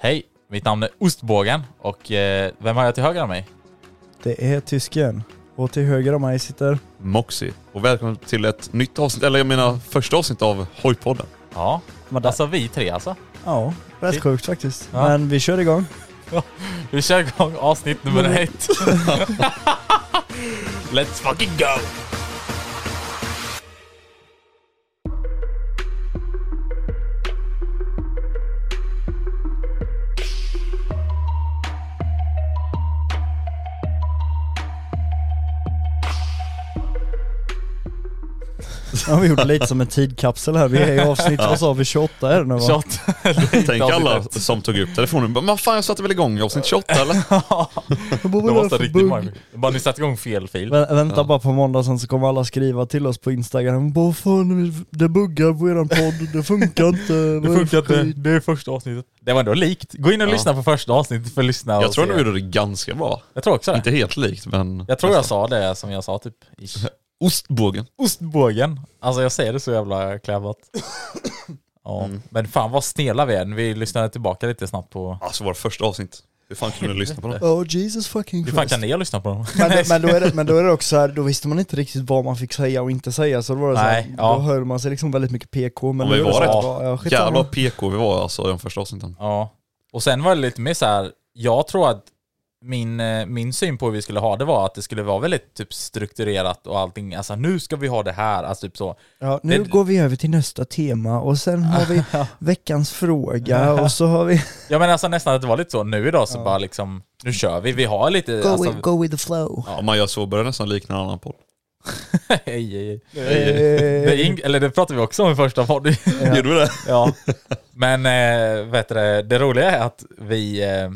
Hej, mitt namn är Ostbågen och eh, vem har jag till höger om mig? Det är tysken. Och till höger om mig sitter... Moxie. Och välkommen till ett nytt avsnitt, eller jag menar första avsnitt av Hojpodden. Ja, Men där- alltså vi tre alltså. Ja, rätt sjukt faktiskt. Ja. Men vi kör igång. Vi kör igång avsnitt nummer Mm. ett. Let's fucking go! Nu har vi gjort lite som en tidkapsel här. Vi är i avsnitt, vad sa vi, 28 är det nu va? Shot. Tänk alla som tog upp telefonen bara, men fan jag satte väl igång i avsnitt 28 eller? Det var så riktigt mime. Bara ni satte igång fel fil. Vä- vänta bara på måndag sen så kommer alla skriva till oss på instagram Vad fan, det buggar på eran podd, det funkar inte. Det Vad är funkar för inte. skit?" Det är första avsnittet. Det var ändå likt. Gå in och Ja. lyssna på första avsnittet för att lyssna och Jag tror se. de gjorde det ganska bra. Jag tror också det. Inte helt likt men... alltså, Jag tror jag sa det som jag sa typ. Ish. Ostbågen. Ostbågen. Alltså jag säger det så jävla klävat. Ja, Mm. men fan vad snälla vi är. Vi lyssnade tillbaka lite snabbt på... Alltså vårt första avsnitt. Hur fan kunde du lyssna på det? Oh Jesus fucking Hur fan Christ. kan ni ha lyssnat på dem? Men, men, då är det, men då är det också så här, då visste man inte riktigt vad man fick säga och inte säga så då var det så här, Nej, då ja. höll man sig liksom väldigt mycket PK men Ja, vi nu är det var så här, rätt. bara, ja, skitsamma. Jävlar vad PK vi var alltså i de första avsnitten. Ja. Och sen var det lite mer så här, jag tror att min, eh, min syn på hur vi skulle ha det var att det skulle vara väldigt typ strukturerat och allting, alltså nu ska vi ha det här, alltså typ så. Ja, nu Det- går vi över till nästa tema och sen har vi veckans fråga och så har vi Ja men alltså nästan att det var lite så nu idag så bara liksom, nu kör vi, vi har lite, go, alltså, with, go with the flow. Om man gör så börjar det nästan likna en annan podd. hej, hej, hej. Det är Eh, ing- eller det pratade vi också om i första podden. Ja. Gjorde vi det? ja. Men eh, vet du, det, det roliga är att vi, eh,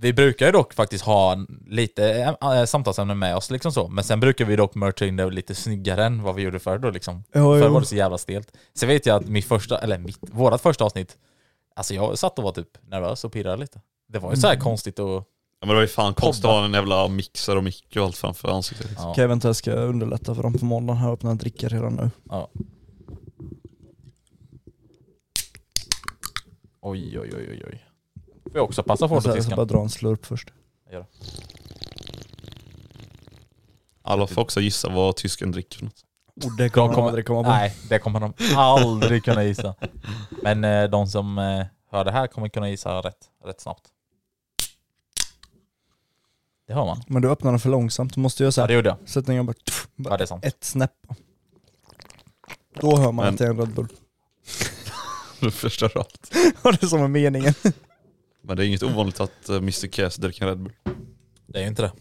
vi brukar ju dock faktiskt ha en- lite eh, samtalsämnen med oss liksom så, men sen brukar vi dock mercha in det lite snyggare än vad vi gjorde förr då liksom. ja, Förr var ja. det så jävla stelt. Sen vet jag att mitt första, eller mitt, vårat första avsnitt, alltså jag satt och var typ nervös och pirrade lite. Det var ju så Mm. här konstigt och... Ja men det var ju fan konstigt att ha en jävla mixer och mick och allt framför ansiktet. liksom. Ja. Okej vänta jag ska underlätta för dem på måndagen här och öppna en dricka redan nu. Oj, oj, oj, oj, oj. Får jag också passa på Jag det ska, jag ska bara tyskan? dra en slurp först. Alla får också gissa vad tysken dricker för något. Oh, det kommer De kommer- de aldrig komma på. Nej, det kommer de aldrig kunna gissa. Men eh, de som eh, hör det här kommer kunna gissa rätt, rätt snabbt. Det hör man. Men du öppnar den för långsamt, du måste göra Ja, såhär, det gjorde jag. sätt den igen bara, tff, Ja, bara det är sant. ett snäpp. Då hör man Men- att det är en Red Bull. Du förstör allt. Ja, det är som är meningen. Men det är inget ovanligt att eh, Mr Cass dricker en Red Bull. Det är ju inte det.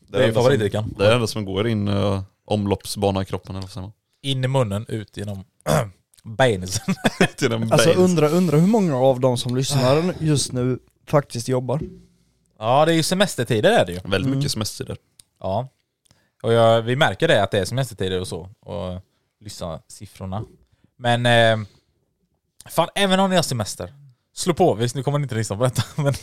Det är ju enda som- favoritdrickan. Det är det enda som går i din eh, omloppsbana i kroppen eller vad säger man? In i munnen, ut genom benusen. Till en Alltså base. undra, undra hur många av de som lyssnar just nu faktiskt jobbar. Ja, det är ju semestertider är det ju. Väldigt mycket semestertider. Ja. Och jag, vi märker det att det är semestertider och så. Och lyssna siffrorna. Men eh, Fan, även om ni har semester. Slå på, visst nu kommer ni inte lyssna på detta. Men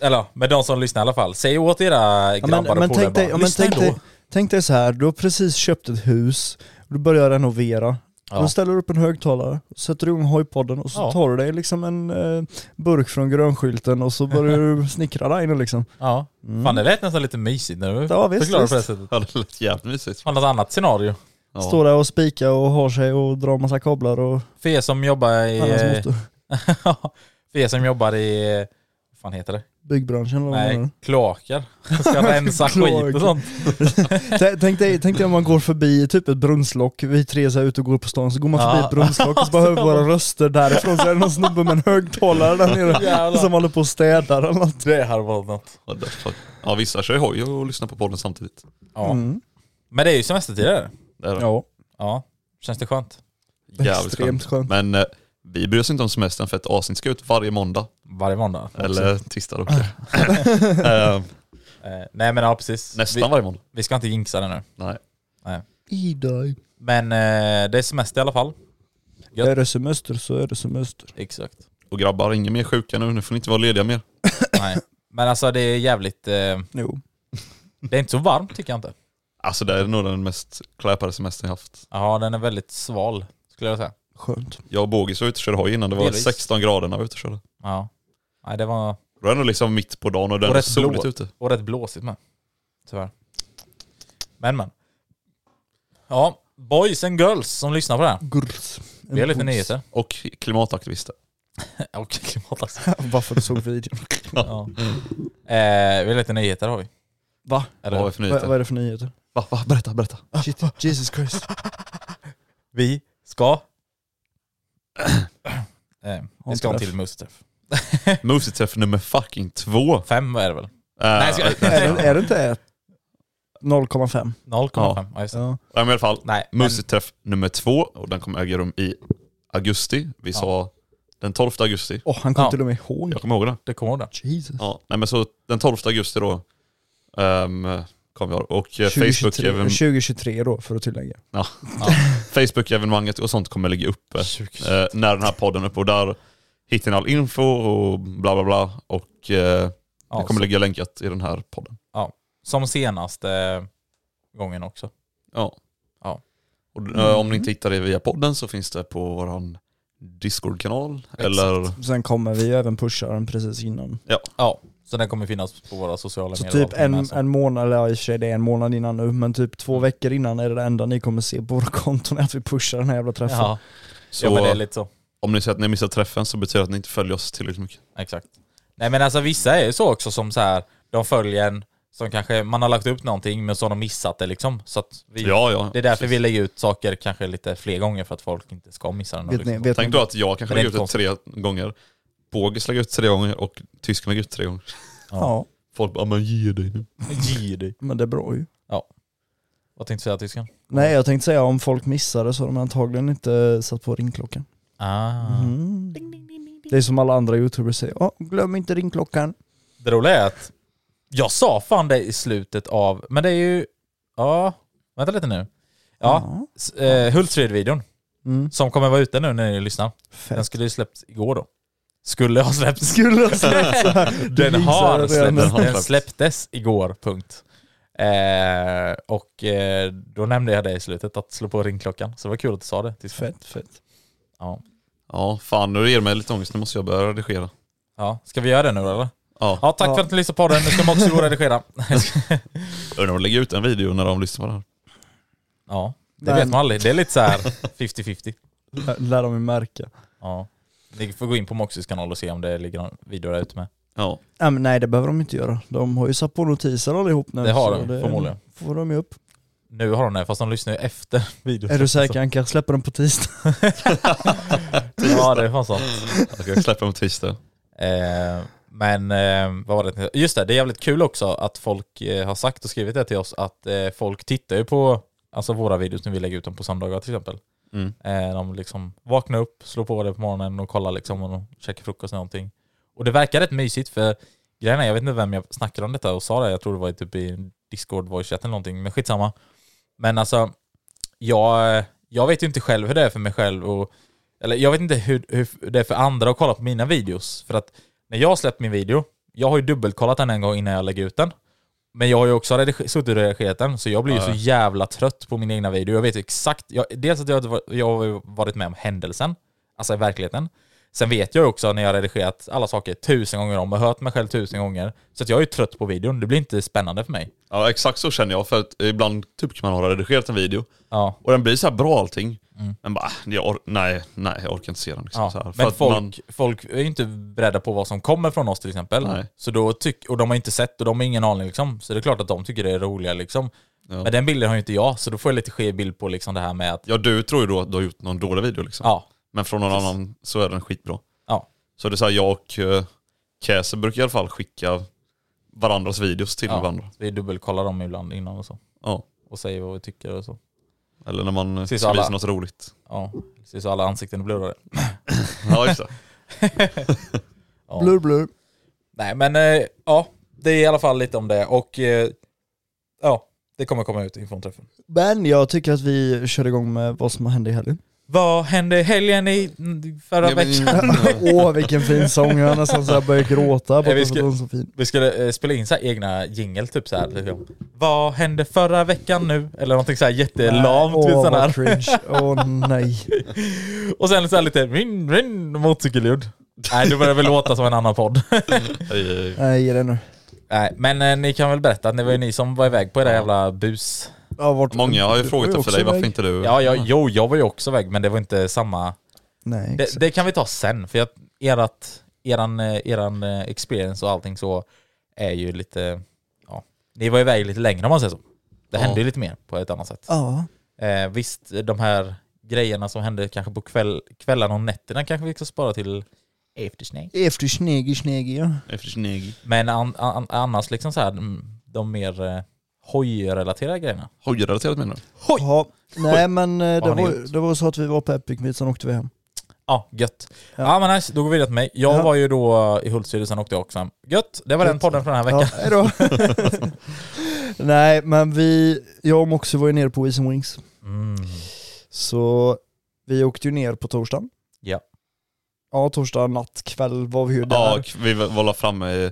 Eller ja, med de som lyssnar i alla fall. Säg åt era Ja, grabbar men, och men polare tänk dig, bara, ja, men lyssna tänk, ändå. dig, tänk dig så här, du har precis köpt ett hus, och du börjar renovera. Ja. Då ställer du upp en högtalare, sätter igång hojpodden och så Ja. tar du dig liksom en eh, burk från grönskylten och så börjar du snickra där inne liksom. Ja. Fan det lät nästan lite mysigt när du Ja, visst, förklarade på det visst. sättet. Ja, det lät jävligt mysigt. Fan, något annat scenario. Ja. Står där och spikar och har sig och drar massa kablar och För er som jobbar i... alla som måste. för er som jobbar i... Vad fan heter det? Byggbranschen eller vad man Nej, är. kloaker. Ska rensa skit Mm. Kloaker. och sånt. Tänk- Tänk dig, tänk dig om man går förbi typ ett brunnslock, vi tre så här ute och går på stan, så går man förbi Ja. ett brunnslock och så bara hör vi våra röster därifrån, så är det någon snubbe med en högtalare där nere Jävlar. som håller på och städar eller något. Det hade varit något. Ja, det- fuck. Ja, vissa kör ju hoj och lyssnar på podden samtidigt. Ja. Mm. Men det är ju semestertider. Det är Ja, Ja. Känns det skönt? jävligt extremt skönt. skönt. Men eh, vi bryr oss inte om semestern för ett avsnitt ska ut varje måndag. Varje måndag. Eller tisdag också. Eh, Eh, nej men ja precis. Nästan Vi, varje måndag. vi ska inte jinxa det nu. Nej. Idaj. Men eh, det är semester i alla fall. Gött. Är det semester så är det semester. Exakt. Och grabbar, inga mer sjuka nu. Nu får ni inte vara lediga mer. Nej. Men alltså det är jävligt... Eh, Jo. det är inte så varmt tycker jag inte. Alltså det är nog den mest kläpade semestern jag haft. Ja den är väldigt sval skulle jag säga. Skönt. Jag och Bogis var ute och körde hoj innan. Det var Delvis. 16 grader när vi var ute och körde. Ja. Nej det var... Då är det nog liksom mitt på dagen och det Och är rätt soligt blå. ute. Och rätt blåsigt med. Tyvärr. Men men. Ja, boys and girls som lyssnar på det här. Gurs. Vi har lite nyheter. Och klimataktivister. Och klimataktivister. alltså. Varför du såg videon? Ja. Eh, vi har lite nyheter har vi. Va? Vad har vi Eller, för Vad nyheter? vad är det för nyheter? Va, va, berätta, berätta. Shit, Jesus Christ. vi ska... eh, vi ska ha en träff. till museträff. Museträff nummer fucking två. Eh, Fem är det väl? nej, ska- är, det, är det inte ett? 0,5. 0,5. Ja. just det. Ja. men i alla fall. Nej, men, Museträff nummer två och den kommer äga rum i augusti. Vi sa den 12 augusti. Åh, han kom Ja. till och med ihåg. Jag kommer ihåg det. det kommer den. Jesus. Ja, nej men så den 12 augusti då um, kom jag och eh, 2023, Facebook-evenemanget 2023 då, för att tillägga. Facebook och sånt kommer ligga uppe eh, när den här podden är uppe och där hittar ni all info och bla bla bla och eh, Ja, jag kommer så- lägga länkat i den här podden. som senaste gången också. Ja. Ja. Mm. Och, eh, Om ni inte hittar det via podden så finns det på våran Discord-kanal eller Sen kommer vi ju även pusha den precis innan. Ja, så den kommer finnas på våra sociala Så medier. och typ allting en, med, så. en månad, eller ja, i och för sig det är en månad innan nu, men typ två veckor innan är det det enda ni kommer se på våra konton, är att vi pushar den här jävla träffen. Ja, så ja, men det är lite så. om ni säger att ni missar träffen så betyder det att ni inte följer oss tillräckligt mycket. Exakt. Nej men alltså vissa är ju så också som så här, de följer en som kanske, man har lagt upp någonting men så har de missat det liksom. Så att vi, Ja ja. det är därför vi lägger ut saker kanske lite fler gånger för att folk inte ska missa den. och Vet ni, liksom. vet ni Tänk då att jag kanske Men det är lägger ut det tre gånger, Bågis lägger ut tre gånger och tysken lägger ut tre gånger. Ja, Folk bara, men ge dig nu. Ge dig. men det är bra ju. Vad tänkte du säga tysken? Nej jag tänkte säga om folk missade så har de antagligen inte satt på ringklockan. Ah. Mm. Det är som alla andra youtubers säger, "Ja, glöm inte ringklockan. Det roliga är att jag sa fan det i slutet av, men det är ju, ja, vänta lite nu. Ja, Ja. s- eh, Hultsfred-videon Mm. som kommer vara ute nu när ni lyssnar. Den Fett. skulle ju släppts igår då. Skulle ha släppts. Skulle ha släppts. Den har Jinxade redan. släppts. har Den släppts. släpptes igår, punkt. Eh, och eh, då nämnde jag det i slutet, att slå på ringklockan. Så det var kul att du sa det. Tills- Fett, fett. Ja. Ja, fan nu ger det mig lite ångest, nu måste jag börja redigera. ja, ska vi göra det nu då, eller? Ja. Ja, tack Ja. för att ni lyssnade på den. Nu ska Moxie gå och redigera. Undrar om de lägger ut en video när de lyssnar på det här. Ja, det Men- vet man aldrig. Det är lite så här 50-50. Lär dem ju märka. Ja. Ni får gå in på Moxys kanal och se om det ligger någon video där ute med. Ja. Ja, men nej det behöver de inte göra. De har ju satt på notiser allihop nu. Det har så de, förmodligen. får de ju upp. Nu har de det, fast de lyssnar ju efter videon. Är du säker? Han kanske släpper den på tisdag. Ja, det är fan sant. Jag ska släppa dem på tisdag. Eh, men eh, vad var det? Just det, det är jävligt kul också att folk eh, har sagt och skrivit det till oss att eh, folk tittar ju på alltså våra videos när vi lägger ut dem på söndagar till exempel. Mm. Eh, de liksom vaknar upp, slår på det på morgonen och kollar liksom och de käkar frukost eller någonting. Och det verkar rätt mysigt för grejen är, jag vet inte vem jag snackade om detta och sa det, jag tror det var typ i discord voice chat eller någonting, men skitsamma. Men alltså, jag, jag vet ju inte själv hur det är för mig själv och Eller jag vet inte hur, hur det är för andra att kolla på mina videos. För att när jag har släppt min video, jag har ju dubbelkollat den en gång innan jag lägger ut den. Men jag har ju också rediger- suttit och redigerat den, så jag blir ju så jävla trött på min egna video. Jag vet ju exakt, jag, dels att jag, hade va- jag har ju varit med om händelsen, alltså i verkligheten. Sen vet jag ju också när jag har redigerat alla saker tusen gånger om och hört mig själv tusen gånger. Så att jag är ju trött på videon, det blir inte spännande för mig. Ja exakt så känner jag, för att ibland typ kan man ha redigerat en video Ja. Mm. och den blir så här bra allting. Men bara, äh, jag or- nej, nej, jag orkar inte se den. Liksom, Ja, så här. För men att folk, man- folk är ju inte beredda på vad som kommer från oss till exempel. Nej. Så då tyck, och de har inte sett och de har ingen aning liksom. Så det är klart att de tycker det är roligare liksom. Ja. Men den bilden har ju inte jag, så då får jag lite skev bild på liksom det här med att, Ja du tror ju då att du har gjort någon dålig video liksom. ja, Men från någon annan så är den skitbra. ja, Så det är så här, jag och eh, Käse brukar i alla fall skicka varandras videos till Ja. varandra. vi dubbelkollar dem ibland innan och så. Ja. Och säger vad vi tycker och så. Eller när man eh, Precis, ska alla- visa något roligt. Ja, precis så alla ansikten blurrade. Ja just det. Ja. Blur blur. Nej men eh, ja, det är i alla fall lite om det och eh, ja, det kommer komma ut inför träffen. Men jag tycker att vi kör igång med vad som hände i helgen. Vad hände i helgen i mm, förra Ja, men- veckan? Åh vilken fin sång, jag har nästan såhär börjat gråta på Nej, vi att ska- den var så fin. Vi skulle eh, spela in så här egna jingle typ så här. Liksom. Vad hände förra veckan nu? Eller någonting så här jättelamt. Åh Oh, sån vad här. cringe, åh nej. Och sen så här lite rin, rin, motorcykelljud. Nej, det börjar väl låta som en annan podd. Ej, ej, ej. Nej ge det nu. Nej, men eh, ni kan väl berätta att det var ju ni som var iväg på era jävla bus. Ja, vart... Många har ju Du frågat var efter också dig, varför iväg. inte du... Ja, jag, jo, jag var ju också iväg, men det var inte samma. Nej, Det, det kan vi ta sen, för jag, erat, eran, eh, eran eh, experience och allting så är ju lite, ja. Ni var iväg lite längre om man säger så. Det hände ju lite mer på ett annat sätt. Ja, Eh, visst, de här grejerna som hände kanske på kväll, kvällarna och nätterna kanske vi ska spara till eftersnack. efter snegi snegi ja. Efter sin egen- Men an, an, annars liksom så här, mm, de mer eh, hojrelaterade grejerna. Hojrelaterat menar du? Ja, nej men eh, Vad det har ni var, gjort? det var så att vi var på Epic Meet, sen åkte vi hem. Ja, gött. Ja. Ja. men nice, då går vi vidare till mig. Jag Ja. var ju då eh, i Hultsfred och sen åkte jag också hem. Gött, det var den podden för den här Ja, veckan. hejdå. nej men vi, jag och Moxie var ju nere på Weezy Wings. Mm. Så vi åkte ju ner på torsdagen. Ja. Ja, torsdag natt, kväll var vi ju där. Ja, och vi var la framme i-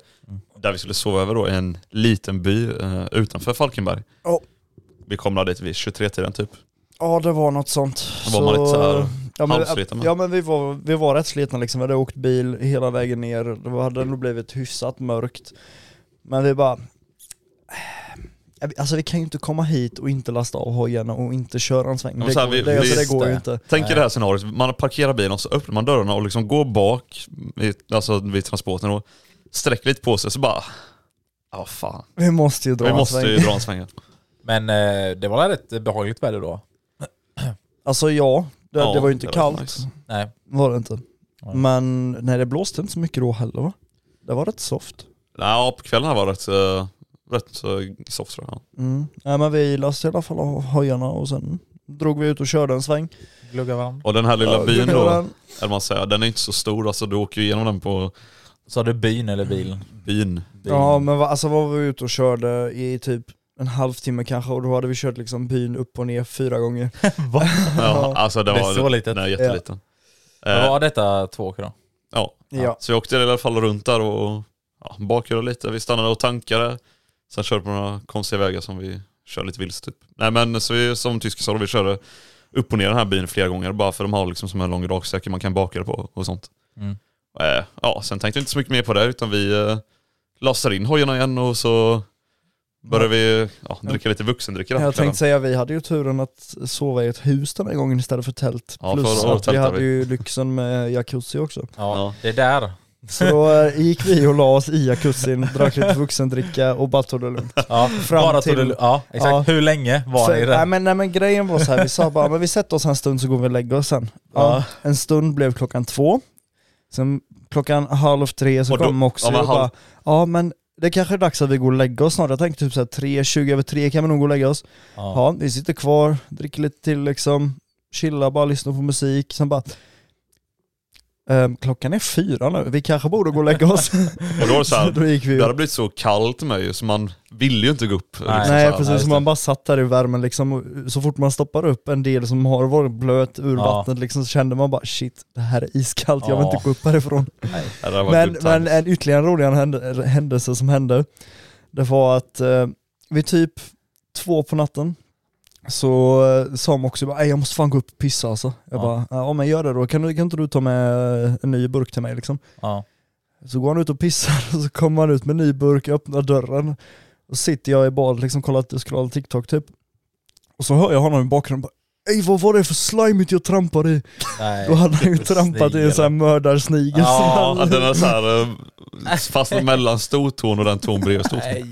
där vi skulle sova över då, i en liten by eh, utanför Falkenberg. Ja. Vi kom där dit vid 23-tiden typ. Ja det var något sånt. Då var man lite så här ja, halvsliten, men, va? ja men vi var, vi var rätt slitna liksom, vi hade åkt bil hela vägen ner, det var- hade nog blivit hyfsat mörkt. Men vi bara, eh, alltså vi kan ju inte komma hit och inte lasta av hojarna och inte köra en sväng. men Det, så här, går, vi- det, alltså, vi- det går ju det. inte. Tänk Nej. er det här scenariot, man parkerar bilen och så öppnar man dörrarna och liksom går bak, i, alltså vid transporten och sträcker lite på sig så bara, ja fan. Vi måste ju dra Vi en måste sväng. ju dra en sväng. här. Men eh, det var rätt behagligt väder då. Alltså ja, det, Ja, det var ju inte det var kallt. nice. Nej. Var det inte. Nej. Men nej det blåste inte så mycket då heller va? Det var rätt soft. Ja, på kvällen här var det rätt, eh, rätt eh, soft tror jag. Mm. Nej men vi lastade i alla fall av hojarna och sen drog vi ut och körde en sväng. Glugga varm. Och den här lilla Ja, byn det då, var den. eller man säger, den är inte så stor alltså du åker ju igenom den på Sa du byn eller bilen? byn. Byn. Ja men va, alltså var vi ute och körde i typ en halvtimme kanske och då hade vi kört liksom byn upp och ner fyra gånger. Va? Ja, alltså det Det är var... så litet. Nej, jätteliten. Vad Eh, var detta två åker då? ja. Ja. Så vi åkte i alla fall runt där och ja, bakade lite. Vi stannade och tankade. Sen körde vi på några konstiga vägar som vi kör lite vilse typ. Nej men så vi, som tysken sa, då, vi körde upp och ner den här byn flera gånger bara för de har liksom som en lång raksträcka man kan baka det på och sånt. Mm. Eh, ja, sen tänkte vi inte så mycket mer på det utan vi eh, lastade in hojarna igen och så började vi ja, dricka lite vuxendryck i den här Jag kvällen. tänkte säga vi hade ju turen att sova i ett hus den här gången istället för tält. Ja, Plus förra året att vi tältade hade vi. ju lyxen med jacuzzi också. Ja, Ja. det där. Så då eh, gick vi och la oss i jacuzzin, drack lite vuxendricka och bara tog det lugnt. Ja, Fram bara till- till... du, ja, exakt. Ja. Hur länge var Så- ni i nej, den? men, nej men grejen var så här, vi sa bara men vi sätter oss en stund så går vi och lägger oss sen. Ja. En stund blev klockan två, sen klockan halv tre så Och då- kom också ja, ja, men och bara halv- ja men det kanske är dags att vi går och lägger oss snart. Jag tänkte typ såhär tre, tjugo över tre kan vi nog gå och lägga oss. Ja. Ja. vi sitter kvar, dricker lite till liksom, chillar bara, lyssnar på musik, sen bara Ehm, klockan är fyra nu, vi kanske borde gå och lägga oss. Och då var det så här, då gick vi det hade upp. blivit så kallt med ju så man ville ju inte gå upp. Liksom Nej, så Nej här. liksom. nej, precis, just så man bara satt där i värmen liksom, och så fort man stoppar upp en del som har varit blöt ur Ja. vattnet liksom, så kände man bara shit, det här är iskallt, jag vill Ja. inte gå upp härifrån. Det hade varit Men, good men times. en ytterligare roligare händ- händelse som hände, det var att eh, vid typ två på natten så eh, sa Moxie bara "Ey, jag måste fan gå upp och pissa alltså. Jag Ja. bara, ja men gör det då, kan, du, kan inte du ta med eh, en ny burk till mig liksom? Ja. Så går han ut och pissar och så kommer han ut med en ny burk, öppnar dörren och sitter jag i badet liksom kollar, scrollar TikTok typ. Och så hör jag honom i bakgrunden bara Ej vad var det för slimet jag trampade i? Nej. Då hade han ju trampat i en sån här mördarsnigel. Ja, som Ja, han- den är så här, eh, fastnat mellan stortån och den tån bredvid stortån. Nej.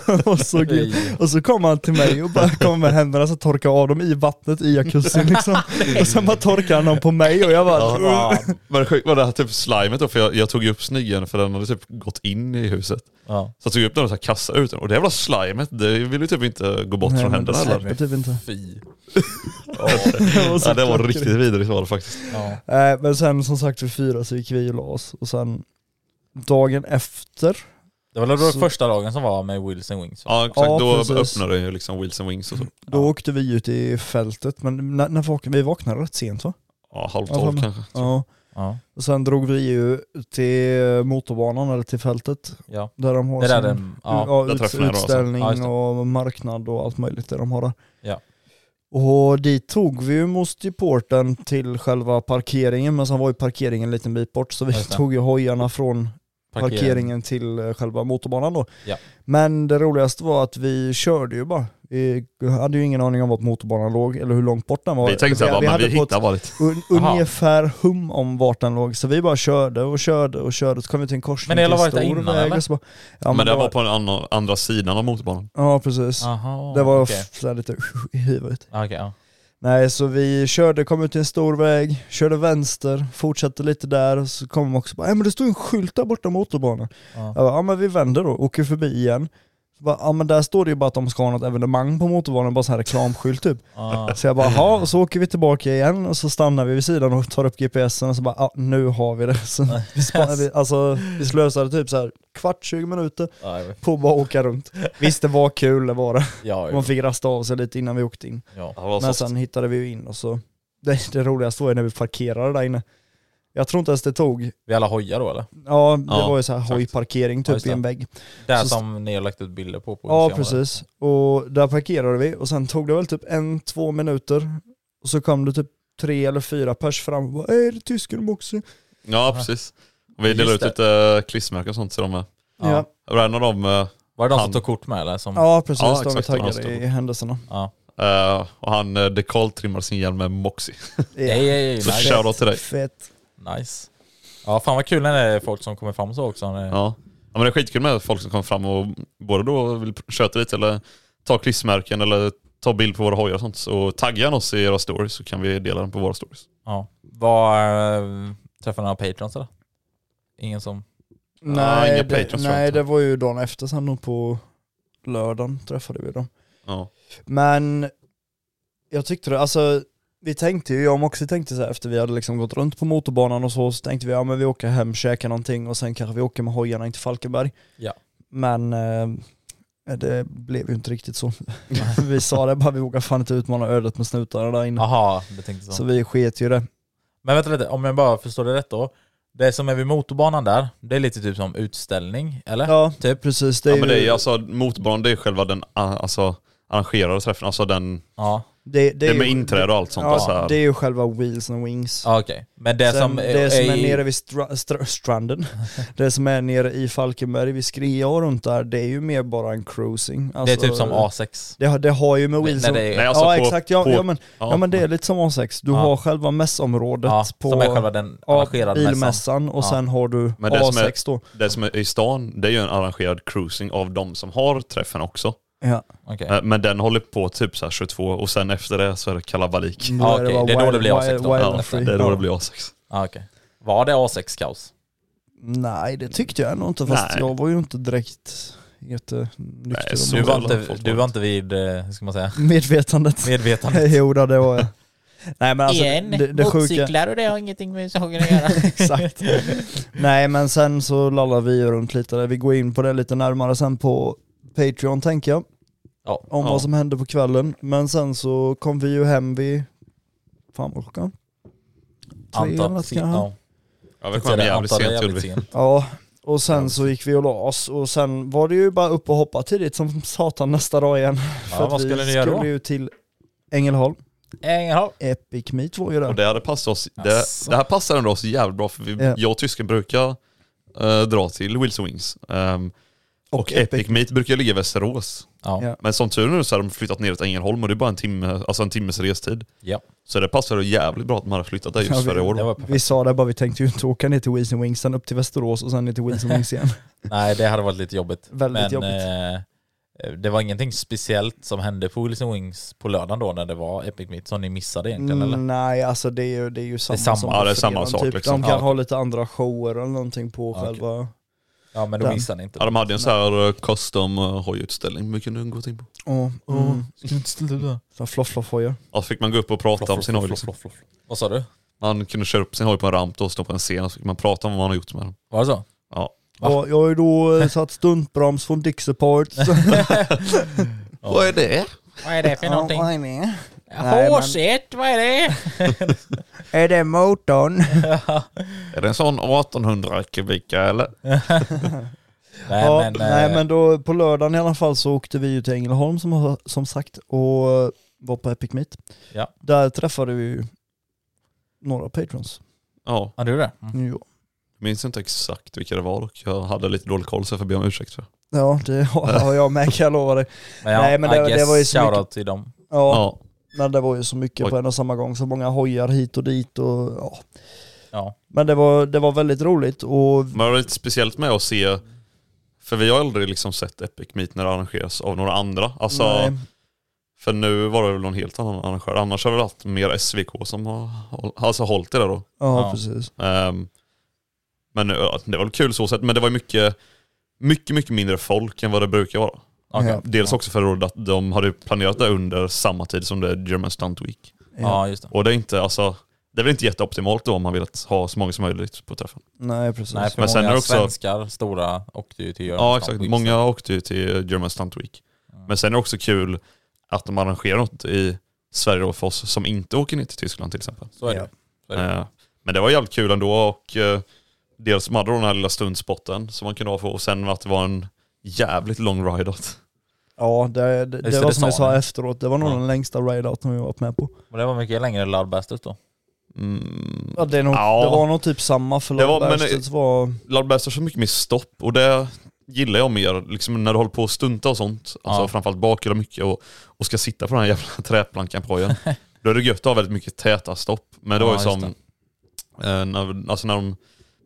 och, så gud. Fy. och så kom han till mig och bara kom med händerna så torkade av dem i vattnet i jacuzzin liksom. och sen bara torkade han dem på mig och jag bara Ja. Men sjukt var det här typ slimet då, för jag, jag tog ju upp sniggen för den hade typ gått in i huset. Ja. Så jag tog upp den och så här kastade ut den. Och det jävla slimet, det vill ju typ inte gå bort Nej, från men det händerna heller. släpper typ inte. Fy. Ja, det var riktigt vidrigt var det faktiskt. Ja. Nej, Eh, men sen som sagt vid fyra så gick vi och la oss och sen dagen efter, Det var väl då Så- första dagen som var med Wilson Wings? va? Ja exakt, Ja, då precis. öppnade den ju liksom Wheels and Wings och så. då åknade åkte vi ut i fältet, men när, när vaknade, vi vaknade rätt sent va? Ja, halv Ja, tolv fem- kanske. Ja. Ja. Och sen drog vi ju till motorbanan eller till fältet, ja. där de har Det där sin den, ja. ja, där ut, träffen är då, alltså. utställning Ja, just det. och marknad och allt möjligt det de har där. Ja. Och dit tog vi ju mostiporten till själva parkeringen, men sen var ju parkeringen en liten bit bort så vi Ja, just det. tog ju hojarna från parkering. parkeringen till eh, själva motorbanan då. Ja. Men det roligaste var att vi körde ju bara. Vi hade ju ingen aning om vart motorbanan låg eller hur långt bort den var. Vi tänkte såhär, bara, men hade vi fått hittar varit. un, Aha. ungefär hum om vart den låg. Så vi bara körde och körde och körde. Så kom vi till en korsning Men det till hade en varit där stor innan, väg eller? och så bara, ja, men det det var på den andra, andra sidan av motorbanan. Ja precis. Aha, det var Ah, okej. f- så här lite i huvudet. Ja, okej, ja. Nej, så vi körde, kom ut till en stor väg, körde vänster, fortsatte lite där, och så kom de också bara, "Nej, men det stod en skylt där borta motorbanan. Ja. Jag bara, ja men vi vänder då, åker förbi igen. Så bara, ja men där står det ju bara att de ska ha något evenemang på motorbanan, bara så här reklamskylt typ. Ja. Så jag bara, ja, och så åker vi tillbaka igen och så stannar vi vid sidan och tar upp GPSen och så bara, ja nu har vi det. Så vi, spa- vi, alltså, vi slösade typ så här kvart, 20 minuter Ja, jag vet. på att bara åka runt. Visst det var kul, det var det. Ja, Man jo. fick rasta av sig lite innan vi åkte in. ja. Ja, det var Men soft. sen hittade vi ju in och så, det, det roligaste var ju när vi parkerade där inne. Jag tror inte ens det tog, Vi alla hojar då eller? ja det Ja, var ju så här exakt. hojparkering Ja, typ just i det. en vägg. Där Så- som ni har lagt ut bilder på. på Ja Instagram, va? precis, och där parkerade vi och sen tog det väl typ en, två minuter och så kom det typ tre eller fyra pers fram och bara "Äh, är det tysken också? Ja precis. Och vi Just delade ut det. lite eh, klistermärken och sånt till dem med. Ja. Ja, Det var en av dem, eh, Var det de Han- som tog kort med eller? Som... ja precis, Ja, de är exakt, de taggade stod- i händelserna. Ja. eh, och han eh, dekaltrimmade sin hjälm med Moxie. Ej, ej, ej, Så nice. shoutout till dig. Fett. nice. Ja fan vad kul när det är folk som kommer fram så också. När... Ja. ja men det är skitkul med folk som kommer fram och både då vill köta lite eller ta klistermärken eller ta bild på våra hojar och sånt. Så tagga gärna oss i era stories så kan vi dela den på våra stories. Ja. Var, äh, träffade ni några patrons eller? Ingen som... Nej, det, inga patrons, tror jag nej inte. det var ju dagen efter sen nog på lördagen träffade vi dem. Ja. Men jag tyckte det, alltså vi tänkte ju, jag och Moxie tänkte så här, efter vi hade liksom gått runt på motorbanan och så, så tänkte vi ja men vi åker hem, käkar någonting och sen kanske vi åker med hojarna in till Falkenberg. Ja. Men eh, det blev ju inte riktigt så. vi sa det bara, vi vågar fan inte utmana ödet med snutarna där inne. Aha, det tänkte så. Så vi sket ju det. Men vänta lite, om jag bara förstår det rätt då. Det som är vid motorbanan där, det är lite typ som utställning, eller? Ja, Typ. precis. Det är, ja men det är ju ju, alltså motorbanan, det är själva den ah, alltså, arrangerade träffen, alltså den, Ja, det, det det är är med ju- inträde och allt sånt. alltså Ja, här. det är ju själva wheels and wings. ja okej. Men det Sen som... det som är i- nere vid stra, stra, stranden, det som är nere i Falkenberg vid Skria och runt där, det är ju mer bara en cruising. Det Alltså, är typ som A6. Det, har- det har ju med Wilson... När det är, Nej, alltså ja på- exakt, ja, på- ja, men, ja. ja men det är lite som A6. Du Ja. har själva mässområdet ja, på som är själva den ja, arrangerade mässan. bilmässan och Ja. sen har du Men det som är- A6 då. Det som är i stan, det är ju en arrangerad cruising av de som har träffen också. Ja, Okej. Eh, Men den håller på typ så här 22 och sen efter det så är det kalabalik. då Ja, är det okej, bara det är då wild- det blir A6 wild- då. wild Ja, and det free. är då Ja. det blir A6. Ja, okej. Var det A6-kaos? Nej det tyckte jag ändå inte fast Nej. jag var ju inte direkt Nej, så jättenykter Du om var jävla inte, folk du var var det. inte vid, eh, hur ska man säga, medvetandet. medvetandet? jo då, det var jag. Nej men alltså, Igen, det, det sjuka... motorcyklar och det har ingenting med saker att göra. Exakt. Nej men sen så lallar vi ju runt lite där. Vi går in på det lite närmare sen på Patreon tänker jag. Ja. Om Ja. vad som hände på kvällen. Men sen så kom vi ju hem vid... Fan vad klockan? Tre eller något kanske? Ja. Ja, vi kom hem jävligt Antal är sent gjorde jävligt vi. sent. Ja, och sen så gick vi och la oss och sen var det ju bara upp och hoppa tidigt som satan nästa dag igen. Ja, vad skulle ni vi göra skulle då? ju till Ängelholm. Eh, Ängelholm. Epic Meet var ju Och där. det hade passat oss, det, Asså. det här passar ändå oss jävligt bra för vi, Ja. jag och tysken brukar eh, dra till Wilson Wings. Ehm, och, Epic, Meet brukar ligga i Västerås. Ja. Ja. Men som tur är nu så har de flyttat ner till Ängelholm och det är bara en, timme, alltså en timmes restid. ja. Så det passade jävligt bra att man hade flyttat där just Ja, vi- för i år. Det då. var perfekt. Vi sa det bara, vi tänkte ju inte åka ner till Weezy Wings, sen upp till Västerås och sen ner till Weezy Wings igen. Nej, det hade varit lite jobbigt. Väldigt Men, jobbigt. Eh, det var ingenting speciellt som hände på Wilson Wings på lördagen då när det var Epic Meet som ni missade egentligen eller? Mm, nej, alltså det är ju, det är ju samma, samma. som Ja, på det är samma fredagen, sak typ. liksom. De kan Ja. ha lite andra shower eller någonting på Ja, okej. själva... Ja men då Den. missade ni inte. Ja, de hade en sån här eh, custom eh, hojutställning vi kunde gå in på. Oh, mm. Skulle inte ställa dig där? Så floff floff hojar. Ja, så fick man gå upp och prata om sin hoj. Liksom. Vad sa du? Man kunde köra upp sin hoj på en ramp då och stå på en scen och så fick man prata om vad man har gjort med den. Var det så? Ja. Va? Ja, jag har ju då eh, satt stuntbroms från Dixapart. Vad är det? Vad är det för någonting? nej. men- Hårset, vad är det? Är det motorn? Är det en sån 1800 kubika eller? Nej, ja, men, nej eh, men då på lördagen i alla fall så åkte vi ju till Ängelholm som, som sagt och eh, var på Epic Meet. Ja. Där träffade vi ju några patrons. Ja, Ja du det? Mm. Jo. jag minns inte exakt vilka det var dock. Jag hade lite dålig koll så jag får be om ursäkt för. Ja det har har jag med kan jag lova dig. Men ja, Nej, men det- I det guess var ju så shoutout mycket- till dem. Ja, Ja. men det var ju så mycket Oj. på en och samma gång, så många hojar hit och dit och ja. Ja. Men det var, det var väldigt roligt och Men det var lite speciellt med att se, för vi har aldrig liksom sett Epic Meet när det arrangeras av några andra. Alltså, nej, För nu var det väl någon helt annan arrangör. Annars har det väl haft mer SVK som har håll- alltså, hållit det där då. ja, Ja. precis. Ehm, men ja, det var väl kul så sett, men det var mycket, mycket, mycket mindre folk än vad det brukar vara. Okej. Ja. Dels ja. också för då att de hade planerat det under samma tid som det är German Stunt Week. Ja just det. Och det är inte, alltså, det är väl inte jätteoptimalt då om man vill att ha så många som möjligt på träffen. Nej precis. Nej för Men sen många är det också- svenskar, stora, åkte ju till Göran Ja Strand exakt, på Ibsen. många åkte ju till German Stunt Week. Men sen är det också kul att de arrangerar något i Sverige då för oss som inte åker ner till Tyskland till exempel. Så är det. Ja. Så är det. Eh, Men det var jävligt kul ändå och eh, dels som hade de den här lilla stundspotten som man kunde ha för och sen att det var en jävligt lång ride-out. Ja, det, det, Just det det, var det som vi sa sa ni. Mm. efteråt, det var nog Ja. den längsta ride-outen vi varit med på. Men det var mycket längre än Loudbasters då. Mm. Ja, det, är nog, Ja. det var nog typ samma för Det var- men- Lundbergstedts var... Loudbast har så mycket mer stopp och det gillar jag mer, liksom när du håller på och stunta och sånt, alltså Ja. framförallt bakhjul och mycket och, och ska sitta på den här jävla träplankan på igen. Då är det gött att ha väldigt mycket täta stopp. Men det Ja, var ju just som, eh, när, alltså när de,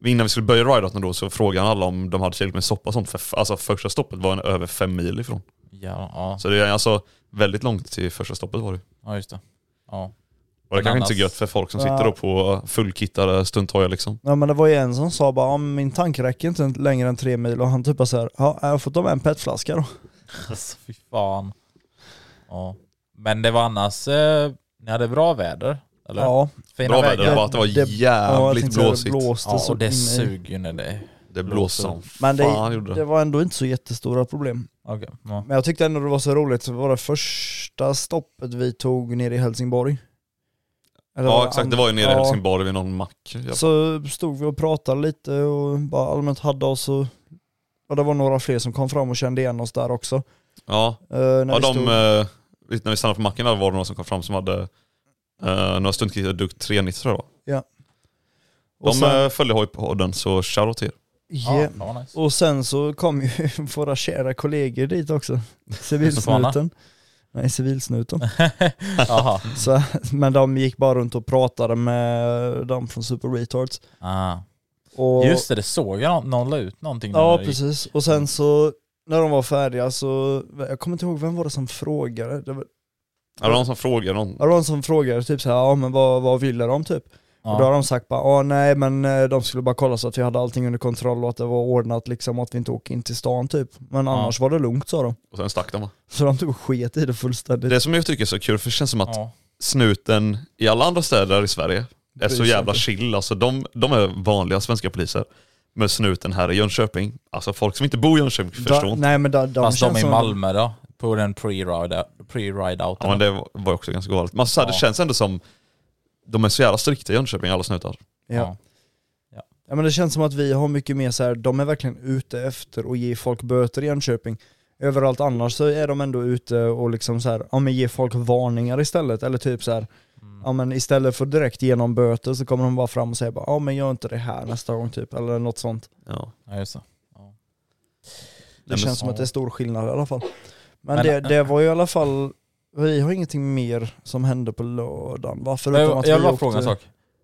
innan vi skulle börja ride-outen då så frågade alla om de hade tillräckligt med soppa och sånt, för f- alltså första stoppet var en över fem mil ifrån. Ja, ja. Så det är alltså väldigt långt till första stoppet var det. ja just det. Ja. Och det Men kanske inte är annars- så gött för folk som Ja. sitter då på fullkittade stunthojar liksom. Ja men det var ju en som sa bara, "Ja, men min tank räcker inte längre än tre mil och han typ bara såhär, ja jag har fått ta med en petflaska då. Alltså fy fan. Ja. Men det var annars, eh, ni hade bra väder? Eller? Ja, Fina Bra väder, det vägar? var att det var Det- ja, jag jävligt tänkte blåsigt. det blåste Ja, så och det in i- suger ju när det... det blåste som Men fan det, gjorde det. det var ändå inte så jättestora problem. Okej. Ja. Men jag tyckte ändå det var så roligt, det var det första stoppet vi tog nere i Helsingborg. Eller Ja det exakt, andra? det var ju nere i Ja. Helsingborg vid någon mack. Ja. Så stod vi och pratade lite och bara allmänt hade oss och, och det var några fler som kom fram och kände igen oss där också. Ja, Eh, när ja vi de, stod- eh, vet, när vi stannade på macken där var det några som kom fram som hade eh, några stuntkittar Dukt 390 tror jag det var. och De sen- eh, följde hojpodden så shoutout till er. Ja. Ja, det var nice. Och sen så kom ju våra kära kollegor dit också. Civilsnuten. Nej, civilsnuten. Jaha. Så, men de gick bara runt och pratade med dem från Super Retards. Ah. Och, Just det, det såg jag. Någon, någon la ut någonting. när Ja, det gick. precis. Och sen så, när de var färdiga så, jag kommer inte ihåg vem var det som frågade. Det var, Ja, det var någon som frågade någon. det var någon som frågade typ så här, ja men vad, vad ville de typ? Och då har Ja. de sagt bara, ja nej men eh, de skulle bara kolla så att vi hade allting under kontroll och att det var ordnat liksom och att vi inte åker in till stan typ. Men annars var det lugnt sa de. Och sen stack de va? Så de typ sket i det fullständigt. Det som jag tycker är så kul, för det känns som att Ja. snuten i alla andra städer i Sverige är så sig jävla inte. chill. Alltså de, de är vanliga svenska poliser. Men snuten här i Jönköping, alltså folk som inte bor i Jönköping förstår Da, inte. nej men da, de Fast de känns i som- Malmö då? På den pre-ride- pre-ride-outen. Ja, men det var var också ganska galet. Men alltså, så här, det Ja. känns ändå som, de är så jävla strikta i Jönköping alla snutar. Ja. ja men det känns som att vi har mycket mer så här. de är verkligen ute efter att ge folk böter i Jönköping. Överallt annars så är de ändå ute och liksom så här, ja men ge folk varningar istället. Eller typ så här, ja men istället för direkt genom böter så kommer de bara fram och säger bara, ja men gör inte det här nästa gång typ. Eller något sånt. Ja. Ja, just det. Det känns som att det är stor skillnad i alla fall. Men, Men- eh, det, det var ju i alla fall, vi har ingenting mer som hände på lördagen va? Förutom Jag, att jag vi vill bara åkte- fråga en sak.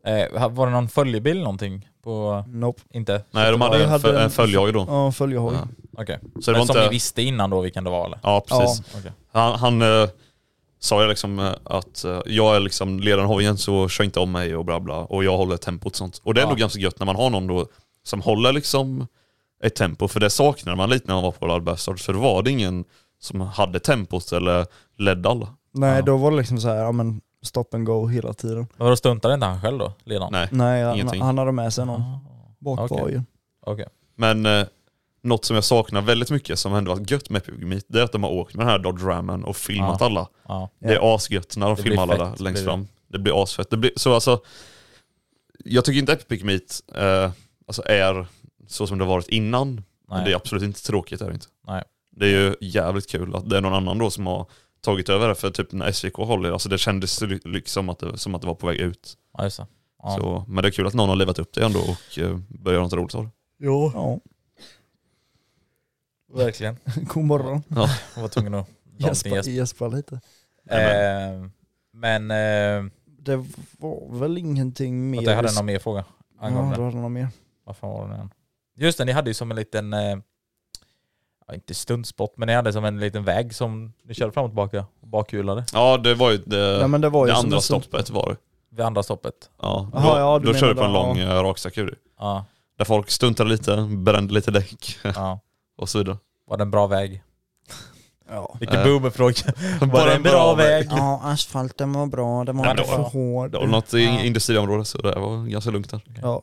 Eh, var det någon följebild någonting? På, Nope. inte? Nej, de Ja, hade jag en, hade fö- en- en följare då. Ja, följehoj. Ja. Okej. Så det var Men som ni inte... visste innan då vilken det var eller? Ja, precis. Okej. Han, han eh, sa ju liksom eh, att eh, jag är liksom ledaren av hojen så kör inte om mig och bla bla och jag håller tempot och sånt. Och det är Ja. nog ganska gött när man har någon då som håller liksom ett tempo för det saknade man lite när man var på Wild Bastards för då var det ingen som hade tempot eller ledde alla. Nej, Ja. då var det liksom så här, ja men stop and go hela tiden. Men vadå stuntade inte han själv då, ledaren? Nej. Nej, han, Typ. Ingenting. han hade med sig någon Ah, bak okej. på ju. Okej. Men eh, något som jag saknar väldigt mycket som ändå varit gött med Epic Meet det är att de har åkt med den här Dodge Ramen och filmat Ja. alla. Ja. Det är asgött när de Det filmar blir alla fett, där längst blir det. fram. Det blir asfett. Det blir, så alltså, jag tycker inte Epic Meet eh, alltså är så som det har varit innan. Men Nej. det är absolut inte tråkigt. Är det, inte. Nej. det är ju jävligt kul att det är någon annan då som har tagit över det. För typ när SVK håller, alltså det kändes li- liksom att det, som att det var på väg ut. Ja, just det. Ja. Så, men det är kul att någon har livat upp det ändå och eh, börjar göra något roligt av det. Jo. Ja, Verkligen. god morgon. Jag var tvungen att dra en liten Gäspa, gäsp. gäspa lite. Eh, Men eh, Det var väl ingenting mer. att jag hade någon mer fråga ja, Mm. angående du hade någon mer. Vad fan var det än? Just det, ni hade ju som en liten, eh, ja, inte stuntspot, men ni hade som en liten väg som ni körde fram och tillbaka och bakhjulade Ja det var ju det, Ja, men det var ju det som andra en sån- stoppet var det. vid andra stoppet. Ja, då Jaha, ja, du då menar körde vi på det, en lång ja. raksträcka ju. Ja, Där folk stuntade lite, brände lite däck ja. och så vidare. Var det en bra väg? Ja. Vilken Eh. boomerfråga. Var det en bra, väg? ja, asfalten var bra, den var Ja, inte det var- för hård. Det var något i industriområde så det var ganska lugnt där. Ja.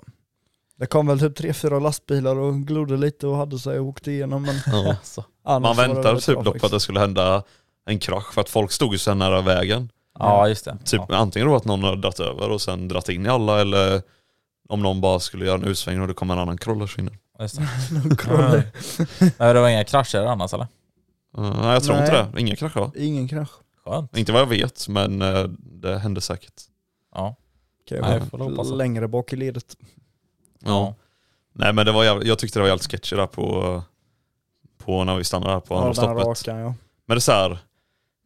Det kom väl typ tre, fyra lastbilar och glodde lite och hade sig och åkte igenom. Men Alltså. annars Man var det väntade väldigt typ bra dock på att faktiskt. det skulle hända en krasch för att folk stod ju så här nära vägen. Ja, just det. Typ Ja. antingen då att någon hade dratt över och sen dratt in i alla eller om någon bara skulle göra en utsväng och det kom en annan krollers in. Just det. Krolle. Nej, det var inga krascher annars eller? Uh, nej jag tror Nej. inte det. Inga krascher va? Ingen krasch. Skönt. Inte vad jag vet men eh, det hände säkert. Ja. Okej, Nej, men får väl hoppas. längre bak i ledet. Ja. Nej men det var jävligt, jag tyckte det var jävligt sketchy där på, på när vi stannade där på andra den stoppet. rakan, ja. Men det är så här,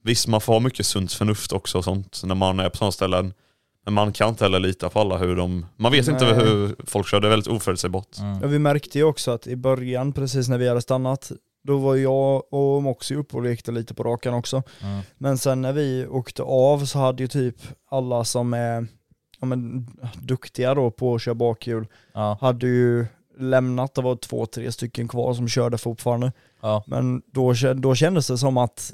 visst man får ha mycket sunt förnuft också och sånt när man är på sådana ställen. Men man kan inte heller lita på alla hur de, man vet inte Nej. hur folk kör, det är väldigt oförutsägbart. Ja, Mm. vi märkte ju också att i början, precis när vi hade stannat, då var jag och Moxie uppe och lekte lite på rakan också. Mm. Men sen när vi åkte av så hade ju typ alla som är ja, men, duktiga då på att köra bakhjul, Ja. hade ju lämnat, det var två, tre stycken kvar som körde fortfarande. Ja. Men då, kä- då kändes det som att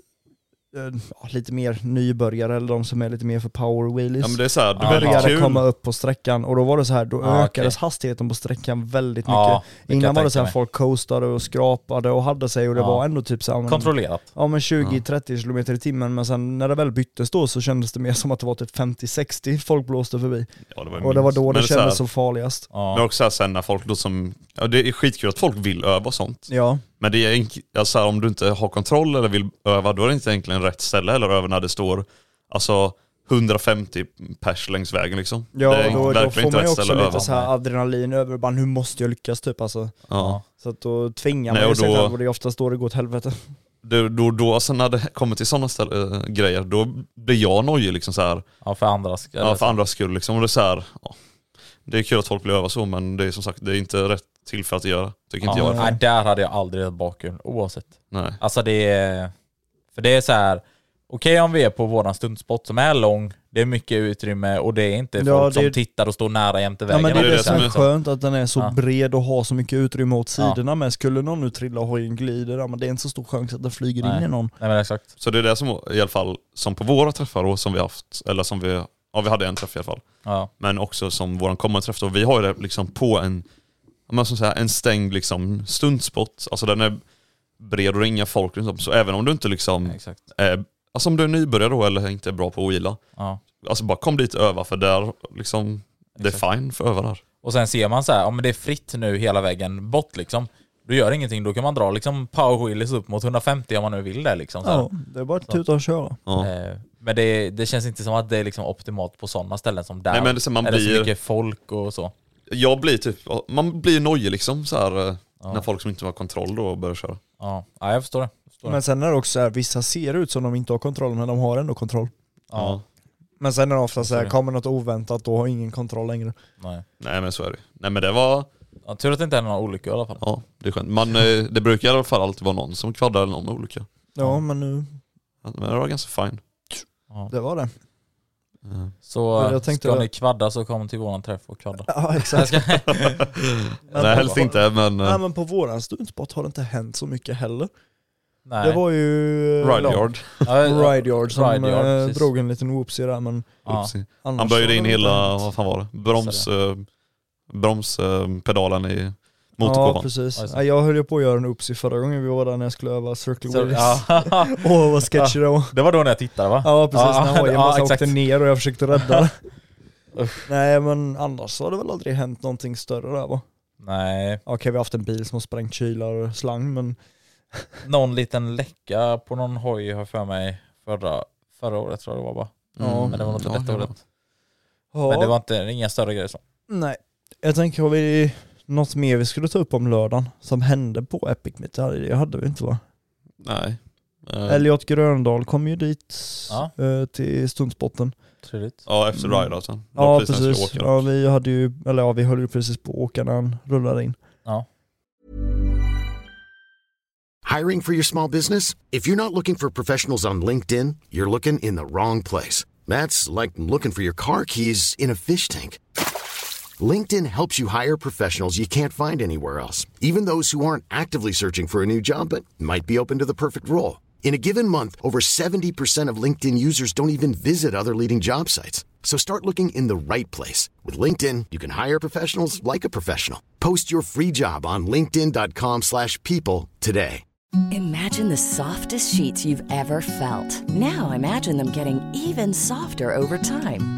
eh, ja, lite mer nybörjare eller de som är lite mer för power wheelies. Ja men det är så här, det Ja, är väldigt började kul. komma upp på sträckan och då var det så här, då Ja, ökades hastigheten på sträckan väldigt mycket. Ja, det kan Innan jag var det tänka så här mig. folk coastade och skrapade och hade sig och det Ja. var ändå typ så här, men- Kontrollerat. ja, men 20-30 km i timmen men sen när det väl byttes då så kändes det mer som att det var typ 50-60 folk blåste förbi. Ja, det var Och det var minst. då Men det är så här- kändes som farligast. Men Ja. också så här, sen när folk då som, ja, det är skitkul att folk vill öva och sånt. Ja, Men det är enk- alltså, så här, om du inte har kontroll eller vill öva, då är det inte egentligen rätt ställe eller öva när det står alltså 150 pers längs vägen liksom. ja det är då, då verkligen får inte man rätt ju också ställe att lite öva. så här adrenalin över, bara, nu måste jag lyckas typ alltså. Ja. Så att då tvingar Nej, man ju och sig då- själv och det är oftast då det går åt helvete. då, då, då alltså när det kommer till sådana äh, grejer, då blir jag nojig liksom så här, ja, för andra ska... ja, för andras skull liksom. Och det är så här, ja. det är kul att folk vill öva så, men det är som sagt, det är inte rätt tillfälle att göra. Tycker inte jag. i alla fall. Nej, där hade jag aldrig ett bakgrund oavsett. Nej. Alltså det är... För det är så här, Okej om vi är på våran stuntspot som är lång, det är mycket utrymme och det är inte Ja, folk det är- som tittar och står nära jämte Ja vägen. men det är det det, är det som är som skönt, att den är så Ja. bred och har så mycket utrymme åt Ja. sidorna men skulle någon nu trilla och hojen glider, ja, men det är inte så stor chans att den flyger Nej. in i någon. Nej men exakt. Så det är det som i alla fall, som på våra träffar då, som vi haft, eller som vi, ja vi hade en träff i alla fall. Ja. Men också som vår kommande träff då, vi har ju det liksom på en, ja, men som så här, en stängd liksom stuntspot. Alltså den är bred och det är inga folk runt om. Så även om du inte liksom, Exakt. är, alltså om du är nybörjare då eller inte är bra på att ogilla, Ja. alltså bara kom dit och öva för där liksom, det är Exakt. fine för att öva där. Och sen ser man så här, ja men det är fritt nu hela vägen bort liksom. Du gör ingenting, då kan man dra liksom power wheelies upp mot 150 om man nu vill det liksom. Så här. Ja, det är bara att tuta och köra. Ja. Eh, Men det, det känns inte som att det är liksom optimalt på sådana ställen som där. Nej, men det är så man Eller blir- så mycket folk och så. Jag blir typ, man blir nojig liksom så här, eh, när folk som inte har kontroll då börjar köra. Ja, ja jag förstår det. Jag förstår Men sen är det också så här, vissa ser ut som de inte har kontroll men de har ändå kontroll. Ja. Men sen är det ofta så här, det. kommer något oväntat då har ingen kontroll längre. det. Nej. Nej men så är det Nej men det var, Ja, tur att det inte är några olyckor i alla fall. ja det är skönt. Man, eh, det brukar i alla fall alltid vara någon som kvaddar eller någon olycka. Ja, men nu, Ja, Men det var ganska fine. Eh. det var det. Så Men jag tänkte ska det. ni kvadda så kom till våran träff och kvadda. Ja exakt. Men Nej på- helst inte men, Nej eh, men på våran stuntspot har det inte hänt så mycket heller. Nej. Det var ju... eh, ride yard. Ja, ja, Rideyard som Ride Yard, eh, precis. drog en liten whoopsie där men Ja. Oopsie. annars Han böjde har in det inte hela, hänt. vad fan var det? Broms, eh, bromspedalen i Ja motorkåpan. precis. Ja, just det. Ja, jag höll ju på att göra en upsi förra gången vi var där när jag skulle öva circle Så, wheels. ja. Åh vad sketchy det var. Det var då när jag tittade va? Ja precis, när hojen bara åkte exakt. ner och jag försökte rädda det. Nej men annars så har det väl aldrig hänt någonting större där va? Nej, Okej vi har haft en bil som har sprängt kylar och slang men någon liten läcka på någon hoj har jag för mig förra, förra året tror jag det var va? Ja. Men det var nog inte Mm. Ja, detta ja. året. ja, Men det var inte, inga större grejer så. nej. Jag tänker har vi något mer vi skulle ta upp om lördagen som hände på Epic Meet? Ja, Det hade vi inte va? Nej. Eh, Elliot Gröndahl kom ju dit Ja. eh, till stundspotten. Trevligt. Ja efter Mm. ride alltså. Det var Ja när jag precis, skulle åka. ja, vi hade ju, eller ja vi höll ju precis på att åka när han rullade in. Ja. Hiring for your small business? If you're not looking for professionals on LinkedIn, you're looking in the wrong place. That's like looking for your car keys in a fish tank. LinkedIn helps you hire professionals you can't find anywhere else, even those who aren't actively searching for a new job but might be open to the perfect role. In a given month, over 70% of LinkedIn users don't even visit other leading job sites. So start looking in the right place. With LinkedIn, you can hire professionals like a professional. Post your free job on linkedin.com/people slash people today. Imagine the softest sheets you've ever felt. Now imagine them getting even softer over time.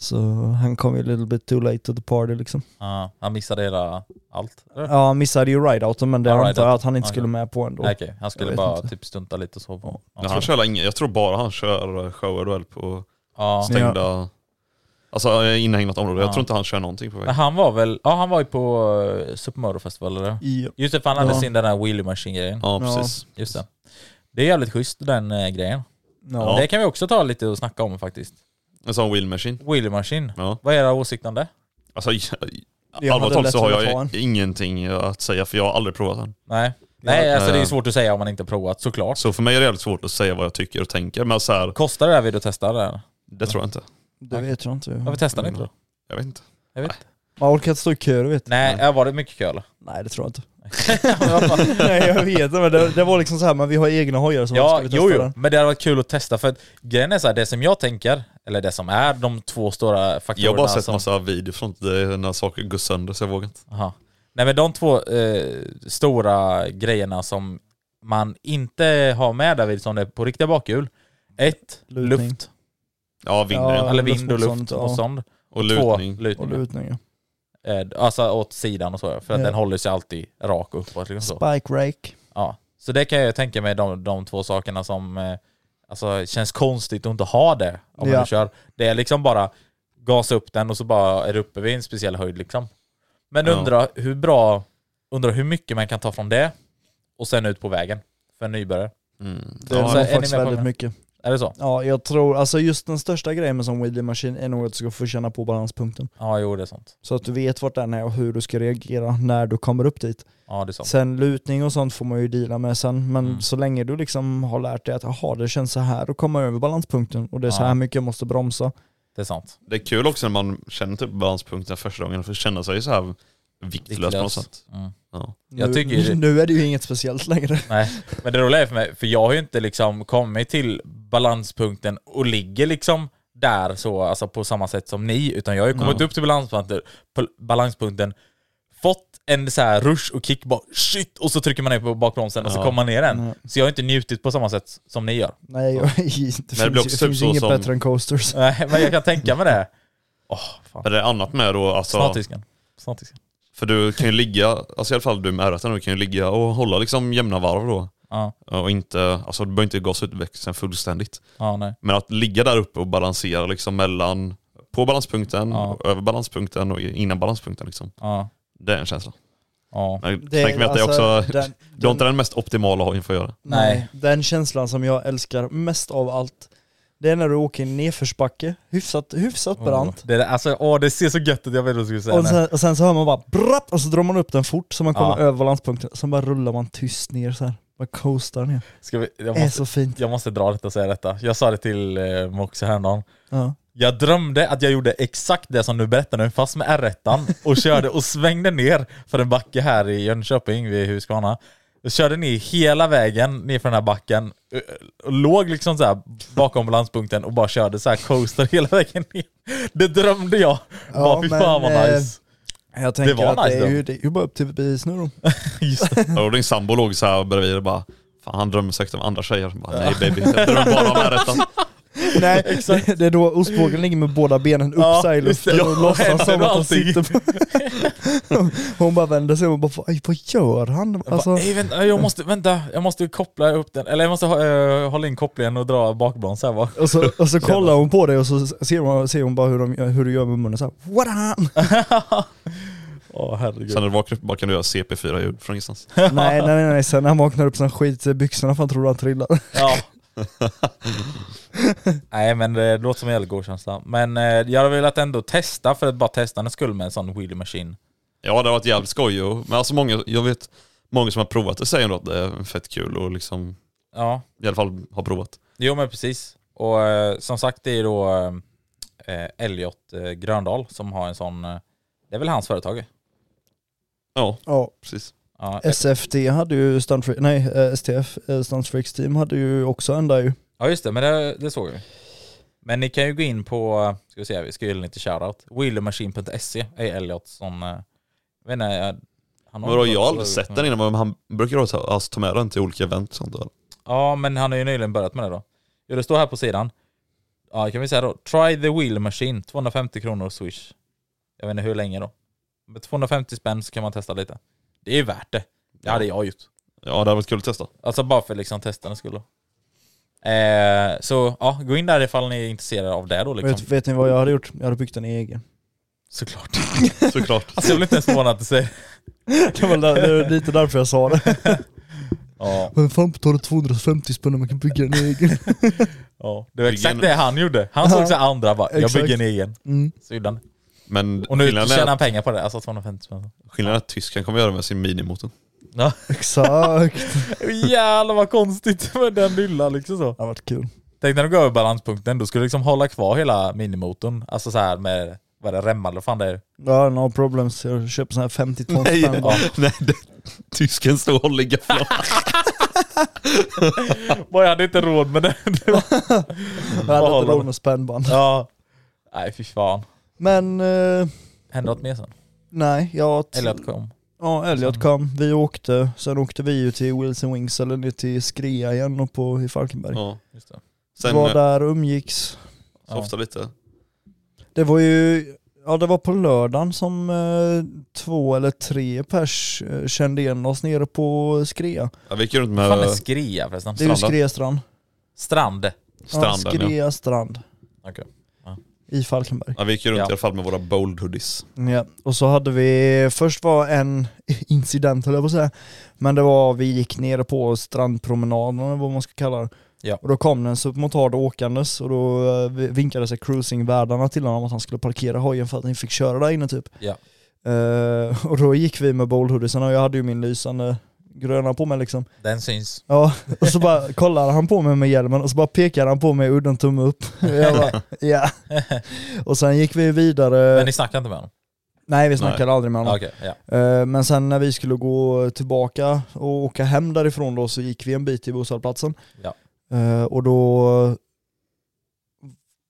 Så han kom ju a little bit too late to the party liksom. Ja, han missade hela allt. eller? Ja han missade ju rideouten men det Ja, antar jag rideouten. att han inte Ja, skulle ja. med på ändå. Nej, okej. Han Jag skulle vet bara inte. typ stunta lite och sova. Nej, han kör länge. Jag tror bara han kör eh, shower väl på Ja. stängda, alltså eh, inhägnat område. Jag Ja. tror inte han kör någonting på Men vägen. han var väl, ja han var ju på uh, Super Mario Festival eller? Ja. Just det, för han hade Ja. sin den där Wheelie Machine grejen. Ja precis. Just det. Det är jävligt schysst den eh, grejen. Ja. Det kan vi också ta lite och snacka om faktiskt. En sån wheel machine. Wheelie Machine. Ja. Vad är era åsikter om det? Alltså jag- Jag hade allvarligt talat så lätt har velat ha en. jag ingenting att säga för jag har aldrig provat den. Nej. Nej, alltså det är Eh. ju svårt att säga om man inte provat såklart. Så för mig är det jävligt svårt att säga vad jag tycker och tänker. Men så här, Kostar det här vid att testa det? här? det tror jag inte. Det vet jag inte. Varför testar ni Mm. inte då? Jag vet inte. Jag vet inte. Man orkar inte stå i kö du vet. Nej, ja, var det mycket kö eller? Nej det tror jag inte. Nej jag vet inte men det, det var liksom så här, men vi har egna hojar som Ja, ska vi testa jo, jo. den. Men det hade varit kul att testa för att grejen är så här, det som jag tänker, eller det som är de två stora faktorerna Jag har bara sett som... massa videor från det när saker går sönder så jag vågar inte. Aha. Nej men de två eh, stora grejerna som man inte har med där vid som det är på riktiga bakhjul. Ett, Lutning. luft. Ja, vinden. Ja, Eller vind och luftmotstånd, luft och ja. sånt. Och Två, lutning. Och lutning. lutning ja. Eh, alltså åt sidan och så, för att Ja. den håller sig alltid rak och uppåt. Liksom så. Spike rake. Ja. så det kan jag tänka mig, de, de två sakerna som eh, Alltså känns konstigt att inte ha det om man Ja. nu kör. Det är liksom bara gasa upp den och så bara är det uppe vid en speciell höjd liksom. Men Ja. undra hur bra, undra hur mycket man kan ta från det och sen ut på vägen för en nybörjare. Mm. Det Ja, är så är nog ni faktiskt med på väldigt det? mycket. Är det så? Ja, jag tror, alltså just den största grejen med sån wheelie machine är nog att du ska få känna på balanspunkten. Ja, jo det är sant. Så att du vet vart den är och hur du ska reagera när du kommer upp dit. Ja, det är sant. Sen lutning och sånt får man ju deala med sen, men Mm. så länge du liksom har lärt dig att jaha, det känns så här att komma över balanspunkten och det är så Ja. här mycket jag måste bromsa. Det är sant. Det är kul också när man känner typ balanspunkten första gången, för att känna sig så här viktlös på något Viktlös. sätt. Mm. Ja. Jag nu, tycker ju- nu är det ju inget speciellt längre. Nej, men det roliga är för mig, för jag har ju inte liksom kommit till balanspunkten och ligger liksom där så, alltså på samma sätt som ni, utan jag har ju kommit upp till balanspunkten, på balanspunkten, fått en så här rush och kick, bara shit, och så trycker man ner på bakbromsen och så Ja. kommer man ner den. Mm. Så jag har inte njutit på samma sätt som ni gör. Nej, jag, det finns, blir ju- också det typ finns så inget som- bättre än coasters. Nej, men jag kan tänka mig det. Åh, fan. Men det är annat med då, alltså, Snartisken. Snartisken. för du kan ju ligga, alltså i alla fall du med R1, du kan ju ligga och hålla liksom jämna varv då. Ja, Och inte, alltså du behöver inte gasa ut växeln fullständigt. ja, nej. Men att ligga där uppe och balansera liksom mellan, på balanspunkten, Ja. och över balanspunkten och innan balanspunkten liksom. Ja, Det är en känsla. ja. Men Det- Tänk mig att det är alltså, också, den- du har inte den- den mest optimala hojen för att göra. Nej. Nej. Den känslan som jag älskar mest av allt, det är när du åker i en nedförsbacke, hyfsat, hyfsat brant. Det, alltså, åh, det ser så gött ut, jag vet inte vad jag skulle säga. Och sen, och sen så hör man bara brapp, och så drar man upp den fort så man Ja. kommer över balanspunkten. Sen bara rullar man tyst ner så här. Bara coastar ner. Ska vi, jag Det är måste så fint. Jag måste dra detta och säga detta. Jag sa det till eh, Moxie häromdagen. Ja. Jag drömde att jag gjorde exakt det som du berättar nu, fast med R1 och körde och svängde ner för en backe här i Jönköping vid Huskvarna. Jag körde ner hela vägen ner för den här backen eh, och låg liksom så här bakom balanspunkten och bara körde så här coaster hela vägen ner. Det drömde jag. Ja, bara, fy men, fan vad eh, nice. Jag tänker var att nice det, är då. ju, det är ju bara upp till bevis nu då. Just det. Och din sambo låg så här bredvid och bara, fan han drömmer säkert om andra tjejer. Bara, Nej baby, jag drömmer bara om R1. Nej, det, det är då ostbågen ligger med båda benen upp Ja, så här i just det. luften Ja, och händer låtsas som att han allting. sitter på... Hon bara vänder sig om och bara "Aj, vad gör han? Jag bara, Alltså, "Ey, vänta, jag måste, vänta, jag måste koppla upp den, eller jag måste eh, hålla in kopplingen och dra bakbron så här bara. och, så, och så kollar hon på dig och så ser hon, ser hon bara hur, de, hur du gör med munnen såhär. What up? Åh herregud. Sen när du vaknar upp bara kan du göra CP4-ljud från ingenstans. Nej, nej, nej, nej. Sen när han vaknar upp så han skiter i byxorna för han tror att han trillar. Ja. Nej men det låter som en jävligt god känsla. Men eh, jag hade velat ändå testa för att bara testa en skull med en sån wheelie machine. Ja det har varit jävligt skoj och, men alltså många, jag vet många som har provat det säger ändå att det är fett kul och liksom Ja, i alla fall har provat. jo men precis. Och eh, som sagt det är då eh, Elliot eh, Gröndal som har en sån, eh, det är väl hans företag? Ja, Ja. precis. Ja, eh, SFT hade ju Stunt Freak- nej eh, STF, eh, Stunt Freaks Team hade ju också en där ju. ja just det, men det, det såg vi. Men ni kan ju gå in på, eh, ska vi se, här, vi ska ju ge lite shoutout. Wheeliemachine.se E är Elliot som, eh, jag vet inte, jag- han Men vadå, jag har aldrig sett den innan men han brukar då ta, alltså, ta med den till olika event och sånt där. Ja, men han har ju nyligen börjat med det då. Jo, det står här på sidan. Ja, kan vi säga då. Try the wheel machine, 250 kronor swish. Jag vet inte hur länge då. Med 250 spänn så kan man testa lite. Det är ju värt det. Det hade jag gjort. Ja det hade varit kul att testa. Alltså bara för liksom testernas skull då. Eh, så ja, gå in där ifall ni är intresserade av det då liksom. Vet, vet ni vad jag hade gjort? Jag hade byggt en egen. Såklart. Såklart. Alltså jag blir inte ens förvånad att du säger Det var, där, det var lite därför jag sa det. Ja, Men fan betalar 250 spänn när man kan bygga en egen? ja. Det var Bygga exakt en- det han gjorde. Han såg så här andra bara, jag Exakt. bygger en egen. Mm. Så gjorde han det. Men Och nu skillnaden, tjänar han är, pengar på det, alltså 250 spänn. skillnaden är att tysken kommer göra med sin minimotor. Ja. Exakt. Jävlar vad konstigt med den lilla liksom så. Det har varit kul. Tänk när du går över balanspunkten, då skulle du liksom hålla kvar hela minimotorn. Alltså så här med, vad är det, remmar eller vad fan det är. Ja, no problems. Jag köper sån här 52 spänn. Ja. Nej, det, tysken står och håller gafflarna. Bara jag hade inte råd med det. det var... Jag hade inte råd med spännband. ja. Nej fy fan. Men eh, Hände något mer sen? nej, jag... Eller att kom? Ja, Elliot kom. Vi åkte. Sen åkte vi ju till Wilson Wings eller ner till Skrea igen och på, i Falkenberg. Ja. Just det. Sen var eh, där och umgicks. så ofta lite. Det var ju, ja det var på lördagen som eh, två eller tre pers eh, kände igen oss nere på Skrea. Ja, vi gick runt Fan med, eh, är Skria förresten? Det är ju Stranda. Skrestrand. Strand. Stranden ja. Skrea strand. Okej. Ja. I Falkenberg. ja vi gick ju runt Ja. i alla fall med våra bold hoodies. Ja. Och så hade vi, först var en incident höll jag på att säga, men det var vi gick ner på strandpromenaden eller vad man ska kalla det. Ja. Och då kom det en supportard åkandes och då eh, vi- vinkade sig cruisingvärdarna till honom att han skulle parkera hojen för att han fick köra där inne typ. Ja. Eh, och då gick vi med bowlhoodiesarna och jag hade ju min lysande gröna på mig liksom. Den syns. Ja, och så bara kollade han på mig med hjälmen och så bara pekade han på mig och gjorde en tumme upp. Och Jag bara, ja. Och sen gick vi vidare. Men ni snackade inte med honom? Nej vi snackade aldrig med honom. Okej, ja. Eh, Men sen när vi skulle gå tillbaka och åka hem därifrån då så gick vi en bit till bostadsplatsen. Ja. Eh, Och då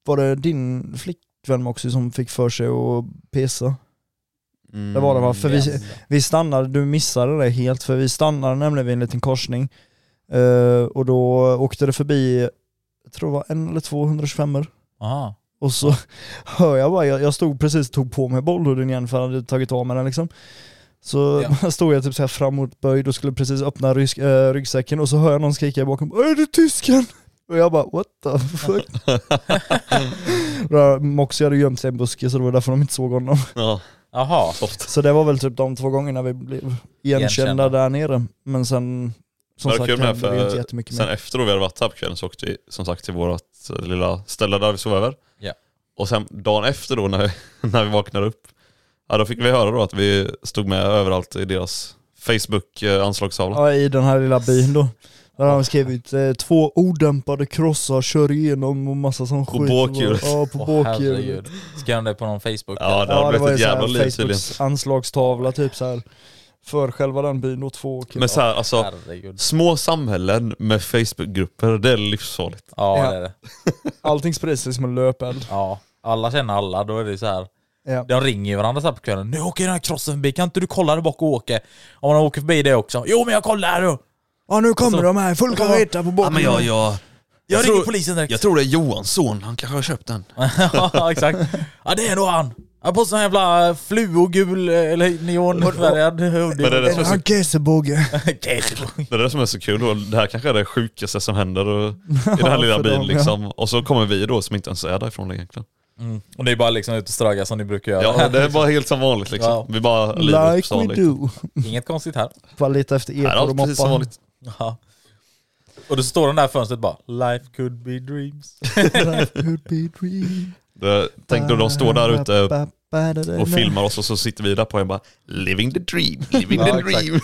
var det din flickvän också som fick för sig att pissa. Det var det va? För vi, vi stannade, du missade det helt, för vi stannade nämligen vid en liten korsning. Eh, och då åkte det förbi, jag tror det var en eller två 125 Aha. och så hör jag bara, jag, jag stod precis tog på mig bollhudden igen för jag hade tagit av mig den liksom. Så stod jag typ så här framåtböjd och skulle precis öppna rysk, eh, ryggsäcken och så hör jag någon skrika bakom Är det tysken? Och jag bara what the fuck? Då, Moxie hade gömt sig i en buske så det var därför de inte såg honom. Ja, Jaha. soft. Så det var väl typ de två gångerna vi blev igenkända, Igenkända. där nere. Men sen, som Det var sagt, kul med hände det för- inte jättemycket Sen mer. efter då vi hade varit här på kvällen så åkte vi som sagt till vårt eh, lilla ställe där vi sov över. Ja. Och sen dagen efter då när, när vi vaknade upp, ja, då fick vi höra då att vi stod med överallt i deras eh, Facebook-anslagstavla. Ja, i den här lilla byn då. Där har de skrivit eh, två odämpade krossar kör igenom och massa sån På skit. bakhjul. Ja, på Åh båkhjul. herregud. Skrev det på någon Facebook? Ja, det Ja, hade det var blivit ju ett så jävla här liv tydligen. Facebooks anslagstavla typ så här För själva den byn och två killar. Men så här, alltså, Herregud. små samhällen med Facebookgrupper, det är livsfarligt. Ja, Ja. det är det. Allting sprids sig som en löpeld. Ja. Alla känner alla, då är det så här. Ja. De ringer ju varandra så här på kvällen. Nu åker den här krossen förbi, kan inte du kolla där bak och åka? Om man åker förbi det också. Jo men jag kollar här då! Ja ah, nu kommer de här, full kareta på bakhjulen. jag, Jag, ringer polisen direkt. tror det är Johansson, han kanske har köpt den. ja exakt. Ja det är nog han. Han på sån här jävla eh, fluogul eller neonfärgad Men det är det hoodie. som är så Han kessebåge. Det är det som är så kul då. Det här kanske är det sjukaste som händer och, i den här lilla för byn dem, ja. liksom. Och så kommer vi då som inte ens är därifrån egentligen. Och det är bara liksom ut och ströga som ni brukar göra. Ja, det är bara helt som vanligt liksom. Ja. Vi bara lever upp Like som we vanligt. do. Inget konstigt här. Bara leta efter Här är ekor och allt precis som moppar. vanligt. Ja. Och då står den där i fönstret bara Life could be dreams. Life could be dream. Det, tänk då de står där ute Ba-ba-ba-da-da-da. och filmar oss och så sitter vi där på en bara Living the dream, living the Ja, exakt. dream.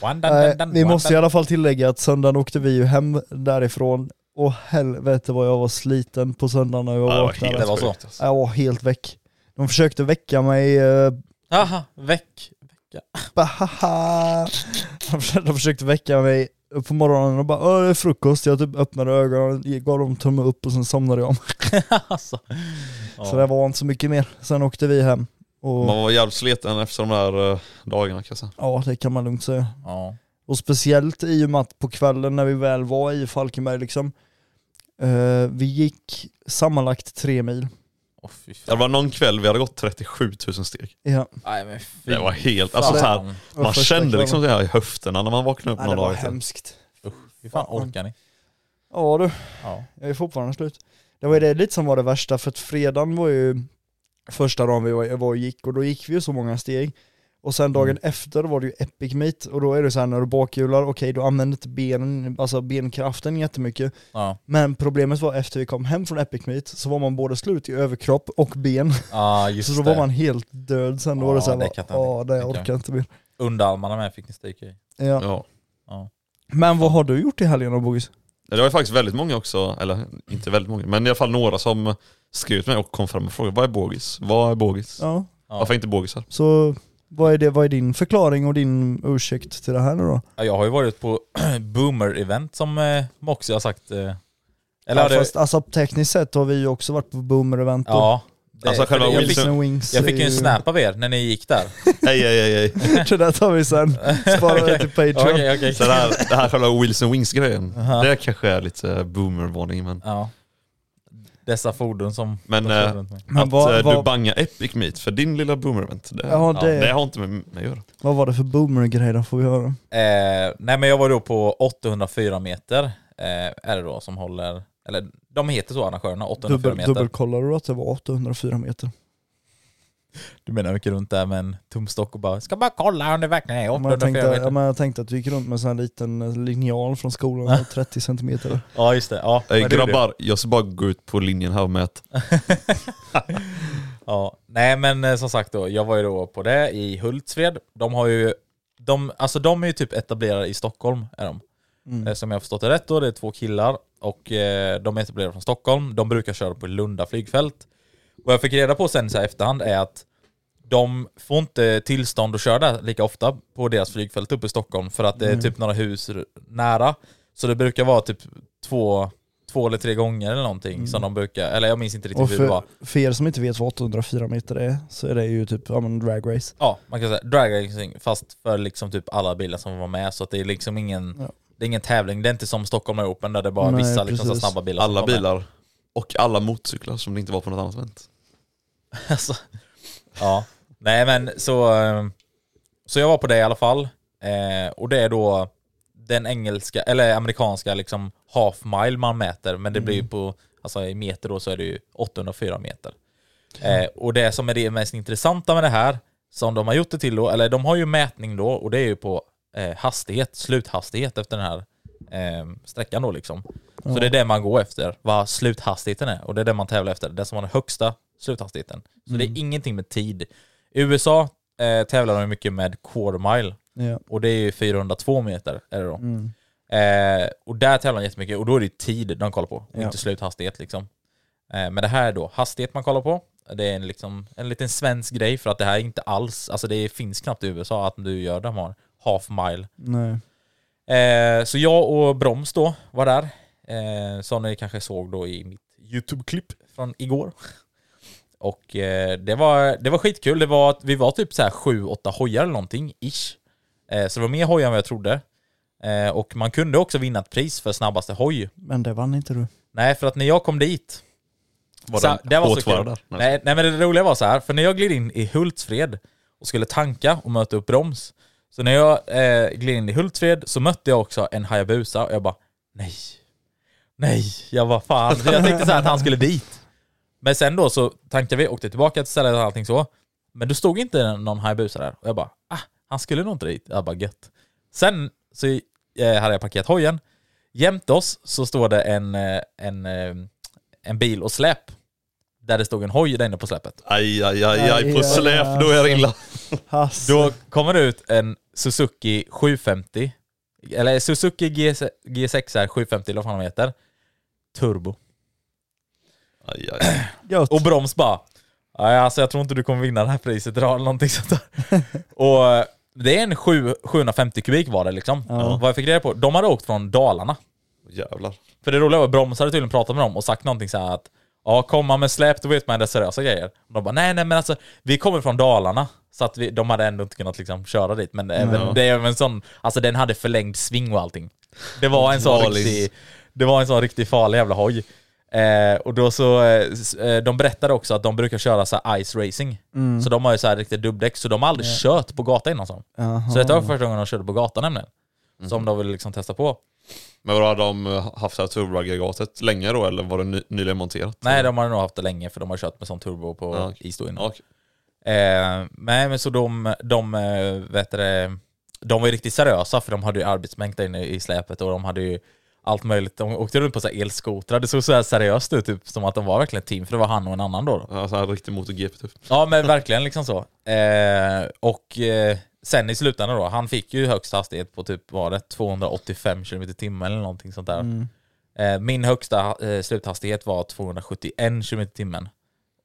One, dun, Nej, dun, dun, vi one, Eh, måste i dun. alla fall tillägga att söndagen åkte vi ju hem därifrån och helvete vad jag var sliten på söndagen när jag Ja, det var vaknade. helt Det var så. sjukt, alltså. Jag var helt väck. De försökte väcka mig, eh, Aha, väck. bahaha. de försökte, de försökte väcka mig på morgonen och bara "Åh, det är frukost. Jag typ öppnade ögonen, gav dem tumme upp och sen somnade jag om. alltså. Så det var inte så mycket mer. Sen åkte vi hem. Och, Man var jävligt sliten efter de där eh, dagarna kan jag säga. ja det kan man lugnt säga. Ja. Och speciellt i och med att på kvällen när vi väl var i Falkenberg liksom, eh, vi gick sammanlagt tre mil. Åh, fy fan. Det var någon kväll vi hade gått 37 000 steg. Ja, Nej men fy Det var helt, alltså så här, fan. man första kände liksom kvällen. det här i höfterna när man vaknade upp Nej, det någon var dag efter. hemskt. Hur fan orkar ni? Ja du, Ja. jag är fortfarande slut. Det var ju det lite som var det värsta, för att fredagen var ju första dagen vi var, var och gick, och då gick vi ju så många steg. Och sen Mm. dagen efter var det ju epic meet, och då är det så här när du bakhjular, okej du använder inte benen, alltså benkraften jättemycket. Ja. Men problemet var efter vi kom hem från epic meet så var man både slut i överkropp och ben. Ja just Så då det. var man helt död sen, då var det Ja, såhär, det kan jag ja det jag tänka mig. orkar inte mer. Underarmarna med fick ni stryka i. Ja. Ja. Men vad har du gjort i helgen då Bogis? Ja, Det var ju faktiskt väldigt många också, eller inte väldigt många, men i alla fall några som skrev till mig och kom fram och frågade vad är bågis? Vad är bågis? Ja. Varför inte bågisar? Så vad är, det, vad är din förklaring och din ursäkt till det här nu då? Ja, Jag har ju varit på boomer-event som eh, Moxie har sagt. Eh. Eller ja, har du- fast, alltså, tekniskt sett har vi ju också varit på boomer-event och ja. Det, Alltså, själva jag, fick, Wilson- Wilson Wings. jag fick ju är en snap av er när ni gick där. Nej, nej, nej. nej. det där tar vi sen. Sparar det till Patreon. Okej, okej. Så det här, det här själva Wilson Wings-grejen, det kanske är lite eh, boomer-varning men. Ja. Dessa fordon som Men, de kör eh, runt med. Men att vad- eh, vad- du bangar Epic Meet för din lilla boomer-event, det, Ja, det- det har inte med mig att göra. Vad var det för boomer-grej då får vi höra? Eh, nej men jag var då på 804 meter. Eh, eh, är det då som håller, eller de heter så arrangörerna, 804 Dubbel, meter. dubbelkollade du att det var 804 meter? Du menar jag gick runt där med en tumstock och bara ska bara kolla om det verkligen är Ja, men jag, 804 tänkte, ja, meter. men jag tänkte att du gick runt med en sån här liten eh, linjal från skolan, så 30 centimeter. Ja just det, ja. Ey, men det gjorde jag. Eh, grabbar, jag ska bara gå ut på linjen här och mäta. ja. Nej men eh, som sagt då, jag var ju då på det i Hultsfred. De har ju, de, alltså de är ju typ etablerade i Stockholm är de. Eh, Som jag har förstått det rätt då, det är två killar och eh, de är etablerade från Stockholm. De brukar köra på Lunda flygfält. Vad jag fick reda på sen så här i efterhand är att de får inte tillstånd att köra där lika ofta på deras flygfält uppe i Stockholm för att det är typ några hus r- nära. Så det brukar vara typ två, två eller tre gånger eller någonting som de brukar, eller jag minns inte riktigt Och hur det var. för, för er som inte vet vad 804 meter är, så är det ju typ ja, men drag race. Ja, man kan säga dragracing fast för liksom typ alla bilar som var med så att det är liksom ingen, Ja. det är ingen tävling, det är inte som Stockholm Open där det är bara Nej, vissa liksom så precis. snabba bilar som Alla var med. bilar och alla motorcyklar som det inte var på något annat event. Alltså, ja. Nej men så, eh, så jag var på det i alla fall. Eh, och det är då den engelska, eller amerikanska liksom half mile man mäter, men det blir ju på, alltså i meter då så är det ju 804 meter. Eh, och det som är det mest intressanta med det här, som de har gjort det till då, eller de har ju mätning då, och det är ju på eh, hastighet, sluthastighet efter den här eh, sträckan då liksom. Så det är det man går efter, vad sluthastigheten är. Och det är det man tävlar efter, det som har den högsta sluthastigheten. Så det Mm. är ingenting med tid. I USA eh, tävlar de ju mycket med quarter mile, Ja. Mm. och det är ju 402 meter är det då. Eh, och där tävlar de jättemycket och då är det tid de kollar på, och Ja. inte sluthastighet liksom. Eh, men det här är då hastighet man kollar på. Det är en, liksom, en liten svensk grej för att det här är inte alls, alltså det finns knappt i USA att du gör de här half mile. Nej. Eh, så jag och Broms då var där, eh, som ni kanske såg då i mitt YouTube-klipp från igår. Och eh, det, var, det var skitkul, det var, vi var typ så här 7-8 hojar eller någonting, ish. Eh, så det var mer hojar än vad jag trodde. Eh, och man kunde också vinna ett pris för snabbaste hoj. Men det vann inte du. Nej, för att när jag kom dit... Var så, det en kul. hårtvara där? Nej. Nej, nej, men det roliga var så här, för när jag gled in i Hultsfred och skulle tanka och möta upp Broms, så när jag eh, gled in i Hultsfred så mötte jag också en Hayabusa och jag bara nej, nej, jag var fan. Så jag tänkte så här att han skulle dit. Men sen då så tankade vi, åkte tillbaka till stället och allting så. Men då stod inte någon Hayabusa där. Och jag bara, ah, han skulle nog inte dit. Jag bara, gött. Sen så eh, hade jag parkerat hojen. Jämte oss så står det en, eh, en, eh, en bil och släp. Där det stod en hoj där inne på släpet. Aj, aj, aj, Aj, aj, på aj, släp, då är alltså. det illa. Hasse. Då kommer det ut en Suzuki 750. Eller Suzuki GS, G6R 750 eller vad fan de heter. Turbo. Aj, aj. Gött. Och Broms bara, "Nej, alltså jag tror inte du kommer vinna det här priset idag eller någonting sånt där. och eh, det är en sju- 750 kubik var det liksom. Vad jag fick reda på, de hade åkt från Dalarna. Jävlar. För det roliga var att Broms hade tydligen pratat med dem och sagt någonting så här att Ja, komma med släp, då vet man det är seriösa grejer. Och de bara, nej nej men alltså, vi kommer från Dalarna. Så att vi, de hade ändå inte kunnat liksom köra dit. Men även, det är även en sån, alltså den hade förlängd sving och allting. Det var en sån Farlig. riktig, det var en sån riktigt farlig jävla hoj. Eh, och då så, eh, s- eh, de berättade också att de brukar köra så här ice racing. Så de har ju så här riktigt dubbdäck, så de har aldrig kört på gata innan så. Så detta var första gången de körde på gatan nämligen. Som de ville liksom testa på. Men vadå, hade de eh, haft det här turboaggregatet länge då eller var det ny, nyligen monterat? Nej, de har nog haft det länge för de har kört med sån turbo på Ja, okej. is då innan. Ja, okej. Eh, nej, men så de, de, eh, vet du, det, de var ju riktigt seriösa för de hade ju arbetsmängd där inne i släpet och de hade ju allt möjligt. De åkte runt på så här elskotrar. Det såg så här seriöst ut, typ, som att de var verkligen ett team, för det var han och en annan då. då. Ja, så här riktig motor-GP typ. Ja men verkligen liksom så. Eh, och eh, sen i slutändan då, han fick ju högsta hastighet på typ, var det 285 km i timmen eller någonting sånt där. Eh, min högsta eh, sluthastighet var 271 km i timmen.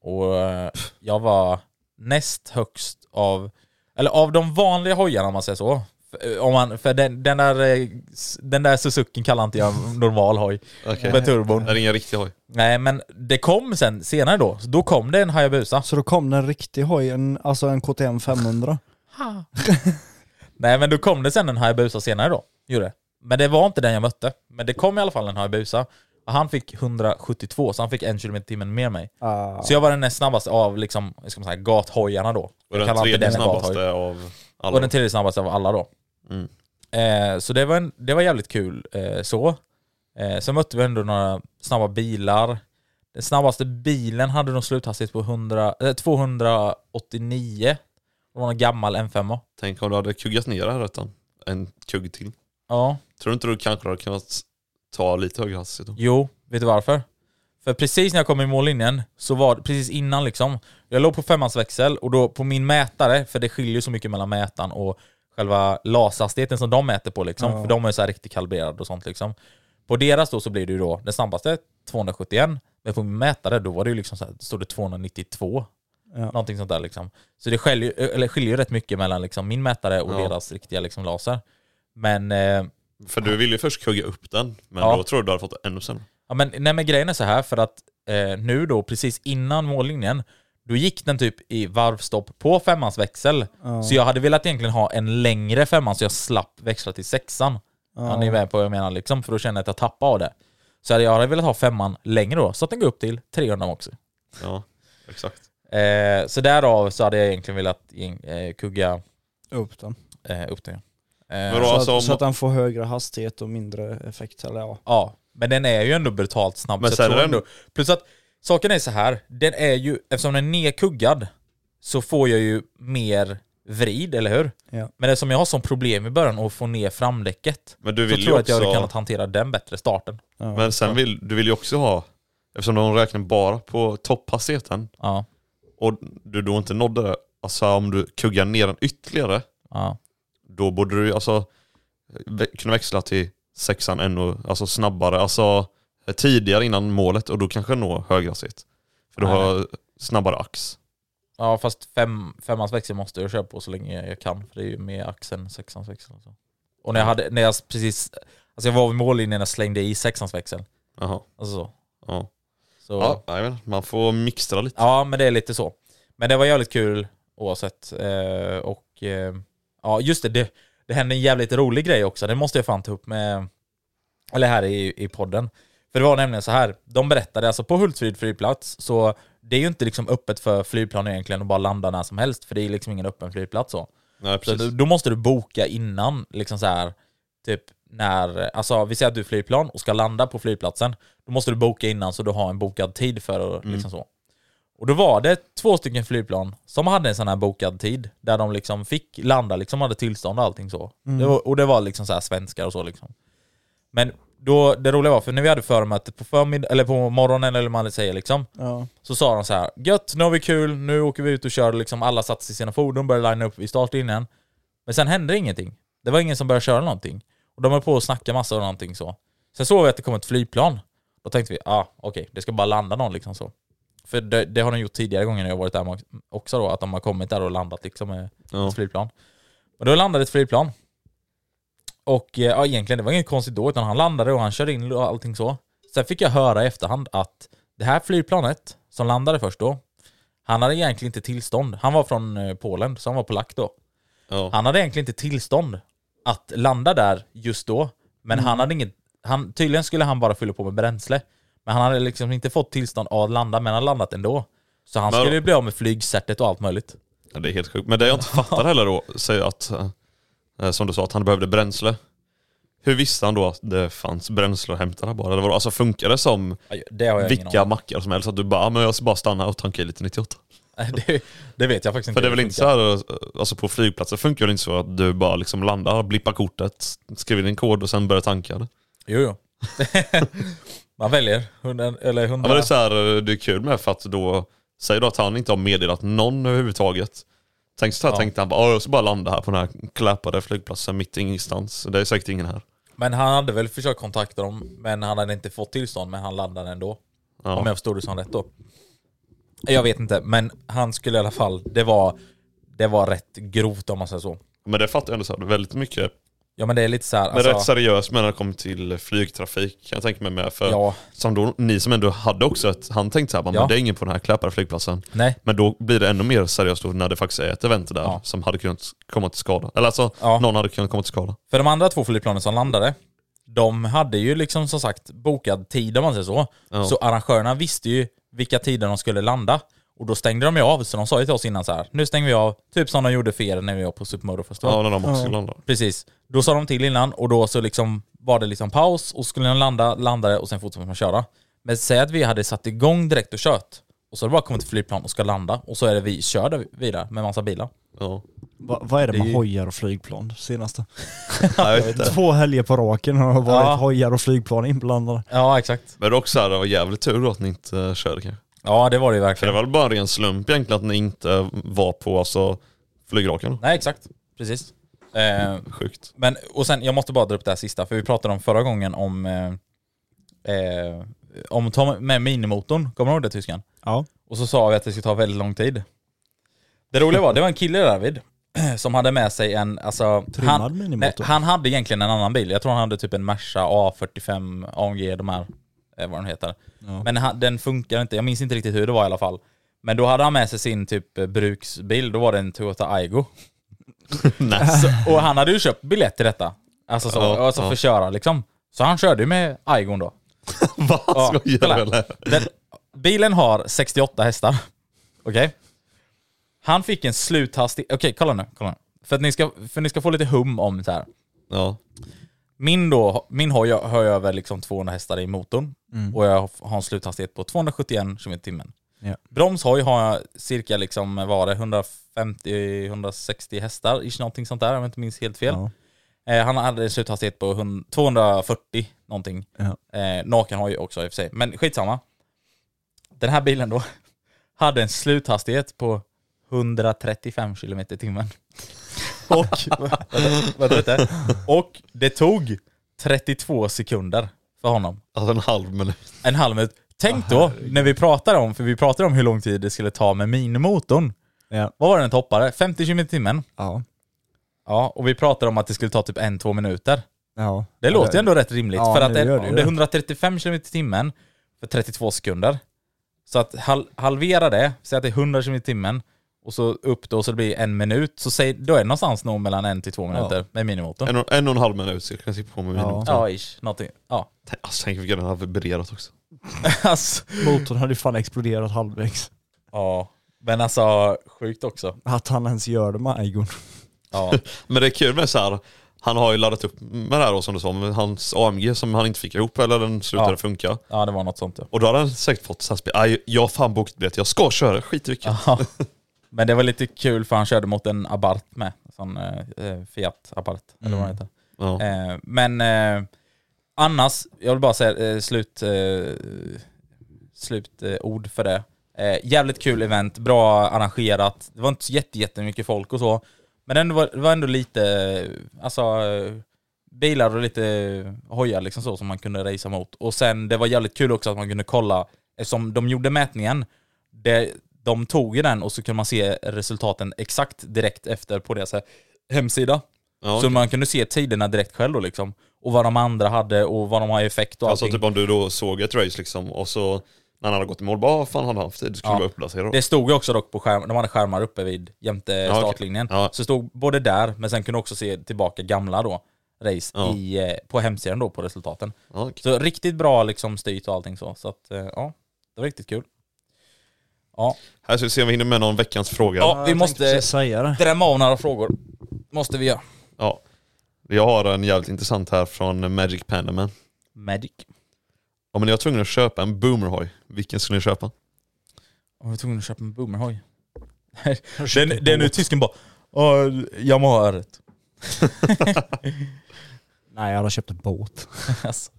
Och eh, jag var näst högst av, eller av de vanliga hojarna om man säger så. För, eh, om man, för den, den där, eh, s- den där Suzuki kallar inte jag en normal hoj. Okej. Med turbon. Det är ingen riktig hoj. Nej men det kom sen, senare då, så då kom det en Hayabusa. Så då kom den en riktig hoj, en, alltså en KTM 500. Nej men då kom det sen en Hayabusa senare då. Gjorde det. Men det var inte den jag mötte. Men det kom i alla fall en Hayabusa. Och han fick 172, så han fick en kilometer i timmen mer än mig. Ah. Så jag var den näst snabbaste av liksom, vad ska man säga, gathojarna då. Och Jag den kallar alltid tredje en gathoj. snabbaste av alla. Och den tredje snabbaste av alla då. Mm. Eh, så det var, en, det var jävligt kul eh, så. Eh, sen mötte vi ändå några snabba bilar. Den snabbaste bilen hade de sluthastighet på 100, eh, 289. Det var en gammal M5. Tänk om du hade kuggat ner här rättan. En kugg till. Ja. Tror du inte du kanske hade kunnat ta lite högre hastighet då? Jo, vet du varför? För precis när jag kom i mållinjen, så var det precis innan liksom, jag låg på femmansväxel och då på min mätare, för det skiljer ju så mycket mellan mätaren och själva laserhastigheten som de mäter på liksom, för de är ju så här riktigt kalibrerade och sånt liksom. På deras då så blir det ju då den snabbaste 271, men på min mätare då var det ju liksom så här, stod det 292. Någonting sånt där liksom. Så det skiljer, eller skiljer ju rätt mycket mellan liksom min mätare och Ja. deras riktiga liksom laser. Men eh, För du ville ju först kugga upp den, men Ja. då tror du du hade fått ännu sämre. Ja, men, nej, men grejen är så här, för att eh, nu då, precis innan mållinjen, då gick den typ i varvstopp på femmans växel. Så jag hade velat egentligen ha en längre femman så jag slapp växla till sexan. Ja, ni är med på vad jag menar liksom, för då känner jag att jag tappar av det. Så hade jag hade velat ha femman längre då, så att den går upp till 300 också. Ja, exakt. Eh, så därav så hade jag egentligen velat gäng- eh, kugga Upp den. eh, upp den. Men Eh, då Så, alltså att, så om, att den får högre hastighet och mindre effekt. Eller ja. Ja, men den är ju ändå brutalt snabb. Men så sen jag tror är den- ändå. Plus att saken är så här, den är ju, eftersom den är nedkuggad så får jag ju mer vrid, eller hur? Ja. Men eftersom jag har sån problem i början att få ner framdäcket Men du så vill tror jag ju att jag hade också- kunnat hantera den bättre starten. men sen vill du vill ju också ha, eftersom de räknar bara på topphastigheten Ja, och du då inte nådde det, alltså om du kuggar ner den ytterligare, ja. då borde du ju alltså vä- kunna växla till sexan ännu alltså snabbare, alltså tidigare innan målet och då kanske nå högre hastighet. För du Nej, har snabbare ax. ja fast fem, femmans växel måste jag köra på så länge jag kan, för det är ju mer axeln sexans växel. Och, så. och när jag hade, när jag precis, alltså jag var vid mållinjen och slängde i sexans växel. Jaha. Alltså så. Ja, så. ja jag vet, inte, man får mixtra lite. Ja, men det är lite så. Men det var jävligt kul oavsett. Eh, och eh, ja, just det, det. Det hände en jävligt rolig grej också. Det måste jag fan ta upp med, eller här i, i podden. För det var nämligen så här, de berättade alltså på Hultsfred flygplats, så det är ju inte liksom öppet för flygplan egentligen att bara landa när som helst, för det är liksom ingen öppen flygplats så. Nej, Så precis. då, då måste du boka innan, liksom så här, typ när, alltså vi säger att du flyger plan och ska landa på flygplatsen, då måste du boka innan så du har en bokad tid för att, liksom så. Och då var det två stycken flygplan som hade en sån här bokad tid, där de liksom fick landa, liksom hade tillstånd och allting så. Det var, och det var liksom så här svenskar och så liksom. Men då, det roliga var, för när vi hade förmötet på förmiddag, eller på morgonen eller vad man säger liksom, Ja. så sa de så här, gött, nu har vi kul, nu åker vi ut och kör, liksom alla satte sig i sina fordon, började linea upp vid startlinjen. Men sen hände ingenting. Det var ingen som började köra någonting. Och de höll på att snacka massa och någonting så. Sen såg vi att det kom ett flygplan. Då tänkte vi, ah okej, det ska bara landa någon liksom så. För det, det har de gjort tidigare gånger när jag varit där också då, att de har kommit där och landat liksom med Ja. ett flygplan. Men då landade ett flygplan. Och eh, ja, egentligen, det var inget konstigt då, utan han landade och han körde in och allting så. Sen fick jag höra i efterhand att det här flygplanet, som landade först då, han hade egentligen inte tillstånd. Han var från eh, Polen, så han var polack då. Ja. Han hade egentligen inte tillstånd att landa där just då. Men Mm. han hade inget, han, tydligen skulle han bara fylla på med bränsle. Men han hade liksom inte fått tillstånd att landa, men han landat ändå. Så han Men- skulle ju bli av med flygcertet och allt möjligt. Ja, det är helt sjukt. Men det jag inte fattar heller då, säger att, eh, som du sa, att han behövde bränsle. Hur visste han då att det fanns bränsle att hämta där bara? Eller vadå? Alltså funkar det som Det har jag ingen vilka mackar som helst? Att du bara, "Ah, men jag ska bara stanna och tanka i lite 98? aning om. det, det vet jag faktiskt inte. För det är väl hur inte så här, eh, alltså på flygplatser funkar det inte så att du bara liksom landar, blippar kortet, skriver din kod och sen börjar tanka? Eller? Jo, jo. Man väljer. 100, eller Ja, 100. men det, är så här, eh, det är kul med för att då, säger då att han inte har meddelat någon överhuvudtaget. Tänk så här Ja. tänkte han bara, "Ah, jag ska bara landa här på den här klappade flygplatsen mitt i ingenstans. Det är säkert ingen här. Men han hade väl försökt kontakta dem, men han hade inte fått tillstånd, men han landade ändå. Ja. Om jag förstod det som rätt då. Jag vet inte, men han skulle i alla fall, det var, det var rätt grovt om man säger så. Men det fattar jag ändå så här, väldigt mycket. Ja men det är lite så här, alltså, Men rätt seriöst med när det kommer till flygtrafik kan jag tänka mig med. För Ja, som då, ni som ändå hade också ett, han tänkte så här, bara, Ja. men det är ingen på den här klappade flygplatsen. nej, Men då blir det ännu mer seriöst då när det faktiskt är ett event där Ja. som hade kunnat komma till skada. Eller alltså, Ja. någon hade kunnat komma till skada. för de andra två flygplanen som landade, de hade ju liksom som sagt bokad tid om man säger så. Ja. Så arrangörerna visste ju vilka tider de skulle landa. Och då stängde de ju av, så de sa ju till oss innan så här, nu stänger vi av, typ som de gjorde för er när vi var på Super Motor Festival. Ja, när de också landar. Precis. Då sa de till innan och då så liksom var det liksom paus och skulle den landa, landade och sen fortsatte man köra. Men säg att vi hade satt igång direkt och kört och så har det bara kommit ett flygplan och ska landa och så är det vi kör där vidare med massa bilar. Ja. Va, vad är det, Det är med ju- hojar och flygplan senaste? Nej, jag vet inte. Två helger på raken har det varit Ja. hojar och flygplan inblandade. Ja exakt. Men det är också här, det var jävligt tur då att ni inte eh, körde kanske. Ja det var det ju För det verkligen. var väl bara en ren slump egentligen att ni inte var på alltså, flygraken. Nej exakt, precis. Eh, Sjukt. men och sen, jag måste bara dra upp det här sista för vi pratade om förra gången om eh, eh, om att ta med minimotorn, kommer du ihåg det tyskan? Ja. Och så sa vi att det skulle ta väldigt lång tid. Det roliga var, det var en kille David som hade med sig en, alltså, Trimmad han, nej, minimotor. han hade egentligen en annan bil. Jag tror han hade typ en Merca A45 AMG, de här, eh, vad de heter. Men han, den funkar inte, jag minns inte riktigt hur det var i alla fall. Men då hade han med sig sin typ eh, bruksbil, då var det en Toyota Aygo. Nej. Så, och han hade ju köpt biljett till detta. Alltså så, Ja, alltså ja. för att köra liksom. Så han körde ju med Aygon då. Vad Ja, skojar kolla. du eller? Den, bilen har 68 hästar. Okej? Han fick en sluthastighet... Okej, kolla nu. Kolla nu. För, att ni ska, för ni ska få lite hum om så här. Ja. Min, då, min har, jag, har jag över liksom 200 hästar i motorn och jag har en sluthastighet på 271 km i timmen. Mm. Ja. Bromshoj har jag cirka liksom, vad var det, 150-160 hästar, ish, någonting sånt där om jag inte minns helt fel. Eh, han hade en sluthastighet på 100, 240 någonting. Ja. Eh, naken har ju också i och för sig, men skitsamma. Den här bilen då hade en sluthastighet på 135 km i timmen. Och, vänta, vänta lite. och det tog 32 sekunder för honom. Alltså en halv minut. En halv minut. Ah, Tänk då, när vi pratar om, för vi pratar om hur lång tid det skulle ta med minimotorn. Ja. Vad var den toppade? 50 km i timmen. Ja. Ja, och vi pratar om att det skulle ta typ en, två minuter. ja. Det låter ju ändå rätt rimligt. Ja, för det att det, gör det, det ju. är 135 km i timmen för 32 sekunder. Så att hal halvera det, säg att det är 100 km i timmen och så upp då så det blir en minut. Så säg, då är det någonstans nog mellan en till två minuter med minimotorn. En, och- en och en halv minut cirka. Jag sitter på mig Ja. ja. Ja, ish. Någonting. Ja. Alltså tänk vilken den har vibrerat också. Alltså, Motorn hade ju fan exploderat halvvägs. ja. Men alltså, sjukt också. Att han ens gör det med Aygon. Ja. Men det är kul med så här. han har ju laddat upp med det här då som du sa, med hans AMG som han inte fick ihop eller den slutade Ja. funka. ja, det var något sånt ja. Och då hade han säkert fått så här, spe- "Aj, jag har fan bokat biljett, jag ska köra, skit i vilket. Ja. Men det var lite kul för han körde mot en Abarth med. En Sån eh, eh, Fiat Abarth, eller vad den heter. Ja. Eh, men eh, annars, jag vill bara säga eh, slut, eh, slut eh, ord för det. Eh, jävligt kul event, bra arrangerat. Det var inte så jätte, jättemycket folk och så. Men det var, det var ändå lite, eh, alltså eh, bilar och lite hojar liksom så som man kunde racea mot. Och sen det var jävligt kul också att man kunde kolla, eftersom de gjorde mätningen, det, de tog ju den och så kunde man se resultaten exakt direkt efter på deras hemsida. Ja, Så okej. man kunde se tiderna direkt själv då liksom. Och vad de andra hade och vad de har i effekt och Alltså allting. typ om du då såg ett race liksom och så när han hade gått i mål, bara "Ah, fan hade han haft tid, det skulle Ja. vara uppdaterat. Det stod ju också dock på skärmar, de hade skärmar uppe vid jämte okej. startlinjen. Ja. Så stod både där, men sen kunde också se tillbaka gamla då race Ja. i, eh, på hemsidan då på resultaten. Ja, okej. Så riktigt bra liksom styrt och allting så. Så att eh, ja, det var riktigt kul. Ja, Här ska vi se om vi hinner med någon veckans fråga. ja vi måste säga det. drämma av några frågor. Måste vi göra. Ja. Jag har en jävligt intressant här från Magic Pandaman. Magic. Om ni var tvungna att köpa en boomerhoj, vilken skulle ni köpa? Om vi var tvungna att köpa en boomerhoj. den, den nu tysken bara "Ja, Yamaha r Nej, jag hade köpt en båt. Alltså.